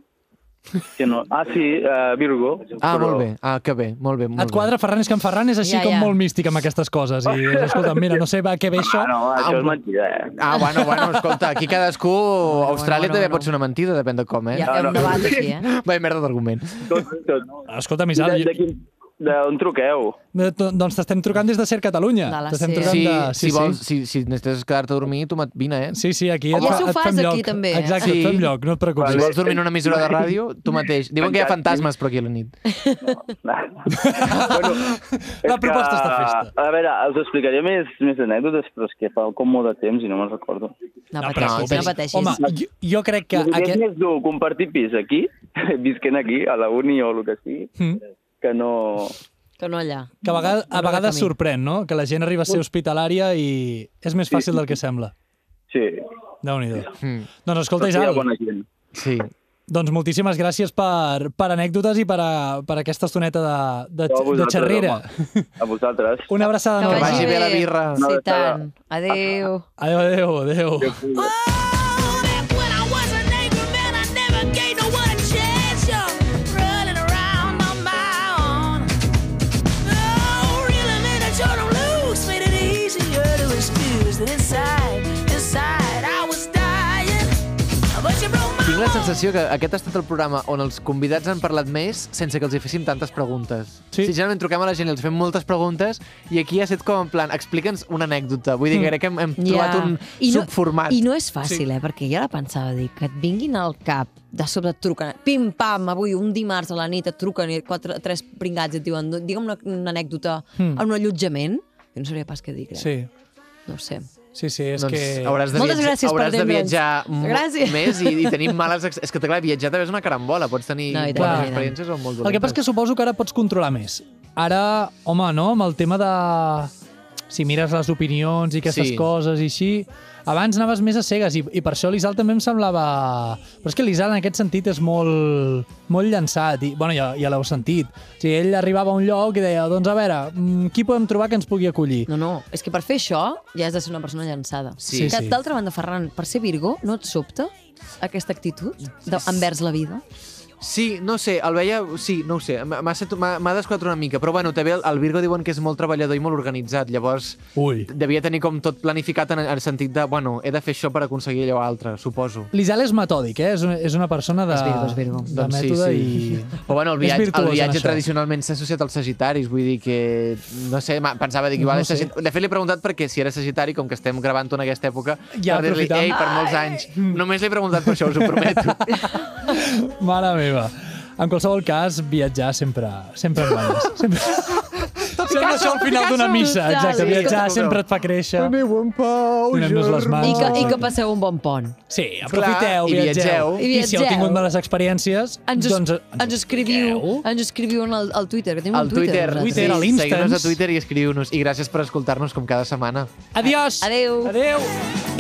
Speaker 9: Que no. Ah, sí, uh, Virgo.
Speaker 3: Ah, molt bé. Ah, que bé, molt bé. Molt
Speaker 2: Et quadra Ferran, és que en Ferran és així
Speaker 1: Ja,
Speaker 2: ja, com
Speaker 1: ja.
Speaker 2: molt místic amb aquestes coses. I dius, escolta, mira, no sé va, què ve això.
Speaker 9: Ah, *laughs* no, va, això
Speaker 3: Ah,
Speaker 9: és mentida, eh?
Speaker 3: Bé. Ah, bueno, bueno, escolta, aquí cadascú... Bueno, Austràlia
Speaker 1: bueno, bueno.
Speaker 3: bueno, també bueno. pot ser una mentida, depèn de com, eh?
Speaker 1: Hi ha, hi ha
Speaker 9: No,
Speaker 1: un
Speaker 9: no.
Speaker 1: debat aquí, eh?
Speaker 3: *laughs* Vaja merda d'argument.
Speaker 9: Tot, tot.
Speaker 2: Escolta,
Speaker 9: I
Speaker 2: Misal,
Speaker 9: De, de,
Speaker 2: Ah, jo,
Speaker 9: quin- d'on
Speaker 2: *laughs*
Speaker 9: truqueu?
Speaker 2: de, to- doncs t'estem trucant des de Ser Catalunya.
Speaker 1: De la
Speaker 2: T'estem
Speaker 1: SER.
Speaker 2: trucant
Speaker 3: Sí,
Speaker 2: de...
Speaker 3: si, vols, si, si necessites quedar-te a dormir, tu me't- vine, eh?
Speaker 2: Sí, sí, aquí et,
Speaker 1: I
Speaker 2: fa-
Speaker 1: això ho
Speaker 2: et
Speaker 1: fas
Speaker 2: fem
Speaker 1: aquí
Speaker 2: lloc.
Speaker 1: també, eh?
Speaker 2: Exacte,
Speaker 3: Sí.
Speaker 2: et fem lloc, no et preocupis. *laughs*
Speaker 3: Si
Speaker 9: Vale.
Speaker 3: vols dormir en una emissora de ràdio, tu mateix. Diuen que hi ha
Speaker 9: Fantàstic.
Speaker 3: fantasmes, però aquí a la nit.
Speaker 9: bueno,
Speaker 2: La
Speaker 9: és
Speaker 2: proposta està festa.
Speaker 9: A veure, us explicaré més, més anècdotes, però és que fa com molt de temps i no me'n recordo.
Speaker 1: No
Speaker 2: No, però
Speaker 1: pateixis,
Speaker 3: bé.
Speaker 1: no pateixis.
Speaker 2: Home, jo, jo crec que...
Speaker 9: Que, aquest... És
Speaker 2: Aquest...
Speaker 9: més dur compartir pis aquí, *laughs* visquent aquí, a la uni o el que sigui,
Speaker 2: Mm,
Speaker 9: que no...
Speaker 1: Que no allà.
Speaker 2: Que a vegades, a
Speaker 1: No, no
Speaker 2: vegades
Speaker 1: camí.
Speaker 2: sorprèn, no? Que la gent arriba a ser hospitalària i és més fàcil del que sembla.
Speaker 9: Sí,
Speaker 2: Déu-n'hi-do.
Speaker 3: Mm.
Speaker 2: Doncs escolta,
Speaker 9: però sí, hi ha
Speaker 2: Isal,
Speaker 9: bona gent.
Speaker 3: Sí.
Speaker 2: Doncs moltíssimes gràcies per, per anècdotes i per, a, per aquesta estoneta de, de,
Speaker 9: Jo a
Speaker 2: de
Speaker 9: vosaltres,
Speaker 2: xerrera.
Speaker 9: home. A vosaltres.
Speaker 2: Una abraçada
Speaker 1: Que
Speaker 3: Que
Speaker 2: enorme.
Speaker 3: vagi bé la birra.
Speaker 9: Una
Speaker 1: Sí,
Speaker 9: abraçada.
Speaker 1: tant. Adéu.
Speaker 2: Adéu, adéu, adéu.
Speaker 8: Oh, that when I was an angry man, I never gave no one a chance. Yo, running around on my own. Oh, really, that you don't lose made it easier to excuse that inside, inside I was dying, but you broke my
Speaker 3: Tinc la
Speaker 8: heart.
Speaker 3: sensació que aquest ha estat el programa on els convidats han parlat més sense que els hi fessin tantes preguntes.
Speaker 2: Sí.
Speaker 3: Sí. Si generalment truquem a la gent i els fem moltes preguntes i aquí ha estat com en plan, explica'ns una anècdota. Vull dir, que crec que hem, hem trobat un subformat.
Speaker 1: I no és fàcil, eh? Perquè jo ara pensava, dic, que et vinguin al cap, de sobte et truquen, pim-pam, avui, un dimarts a la nit, et truquen i quatre, tres pringats i et diuen, digue'm una, una anècdota
Speaker 2: Mm.
Speaker 1: en un allotjament, jo no sabria pas què dir, crec.
Speaker 2: Sí,
Speaker 1: No ho sé.
Speaker 2: sí, sí, és
Speaker 3: doncs
Speaker 2: que...
Speaker 3: hauràs de
Speaker 1: Moltes
Speaker 3: viatjar,
Speaker 1: gràcies per
Speaker 3: hauràs de
Speaker 1: atendre'ns.
Speaker 3: viatjar mo-
Speaker 1: Gràcies.
Speaker 3: més i, i tenir males... ex- És que, clar, viatjar també és una carambola. Pots tenir
Speaker 1: No,
Speaker 3: no,
Speaker 1: i tant,
Speaker 2: i
Speaker 3: bones
Speaker 2: tant.
Speaker 3: experiències o molt dolentes.
Speaker 2: El que passa és que suposo que ara pots controlar més. Ara, home, no, amb el tema de si mires les opinions i aquestes
Speaker 3: Sí.
Speaker 2: sí. coses i així... Abans anaves més a cegues i, i per això l'Isal també em semblava... Però és que l'Isal en aquest sentit és molt, molt llançat i, bueno, ja, ja l'heu sentit. O sigui, ell arribava a un lloc i deia, doncs a veure, mm, qui podem trobar que ens pugui acollir?
Speaker 1: No, no, és que per fer això ja has de ser una persona llançada. que
Speaker 2: Sí, sí.
Speaker 1: d'altra banda, Ferran, per ser Virgo, no et sobta aquesta actitud de, envers la vida?
Speaker 3: Sí, no sé, el veia... Sí, no ho sé, m'ha sento- m'ha m'ha desquadrat una mica. Però bueno, també el, el Virgo diuen que és molt treballador i molt organitzat, llavors
Speaker 2: Ui.
Speaker 3: devia tenir com tot planificat en el sentit de, bueno, he de fer això per aconseguir allò altre, suposo. Ah, doncs
Speaker 2: L'Isal és metòdic, eh? És una, és una persona de,
Speaker 1: És Virgo, és Virgo.
Speaker 2: de mètode i...
Speaker 3: Però bueno,
Speaker 2: *laughs* És
Speaker 3: el viatge,
Speaker 2: virtuós
Speaker 3: el
Speaker 2: en
Speaker 3: viatge
Speaker 2: això.
Speaker 3: tradicionalment s'ha associat als sagitaris, vull dir que, no sé, ma- pensava dir que igual
Speaker 2: No
Speaker 3: no
Speaker 2: sé.
Speaker 3: sé. De fet, li he preguntat perquè si era sagitari, com que estem gravant-ho en aquesta època,
Speaker 2: Ja
Speaker 3: per dir-li,
Speaker 2: aprofitam.
Speaker 3: ei, per molts anys. Només li he preguntat per això, us ho prometo.
Speaker 2: Mare meva. En qualsevol cas, viatjar sempre, sempre
Speaker 1: *laughs*
Speaker 2: en guanyes. Sempre... Sembla això al final d'una missa,
Speaker 1: Total.
Speaker 2: exacte.
Speaker 1: Sí,
Speaker 2: Viatjar
Speaker 3: escolta,
Speaker 2: sempre et fa créixer.
Speaker 3: meu en pau,
Speaker 2: Donem-nos les mans.
Speaker 1: I que, I que
Speaker 2: exacte.
Speaker 1: passeu un bon pont.
Speaker 2: Sí, aprofiteu,
Speaker 3: Clar, i
Speaker 2: viatgeu.
Speaker 3: viatgeu.
Speaker 1: I
Speaker 2: I si heu
Speaker 1: viatgeu.
Speaker 2: tingut males experiències,
Speaker 1: Ens, es,
Speaker 2: doncs...
Speaker 1: doncs, ens escriviu, ens escriviu en el, al Twitter, que tenim
Speaker 3: Al
Speaker 1: un Twitter.
Speaker 3: Twitter,
Speaker 1: nosaltres.
Speaker 2: Twitter, a
Speaker 3: sí,
Speaker 2: l'Instants.
Speaker 3: seguiu-nos a Twitter i escriu-nos. I gràcies per escoltar-nos com cada setmana.
Speaker 2: Adiós!
Speaker 1: Adeu.
Speaker 2: Adeu!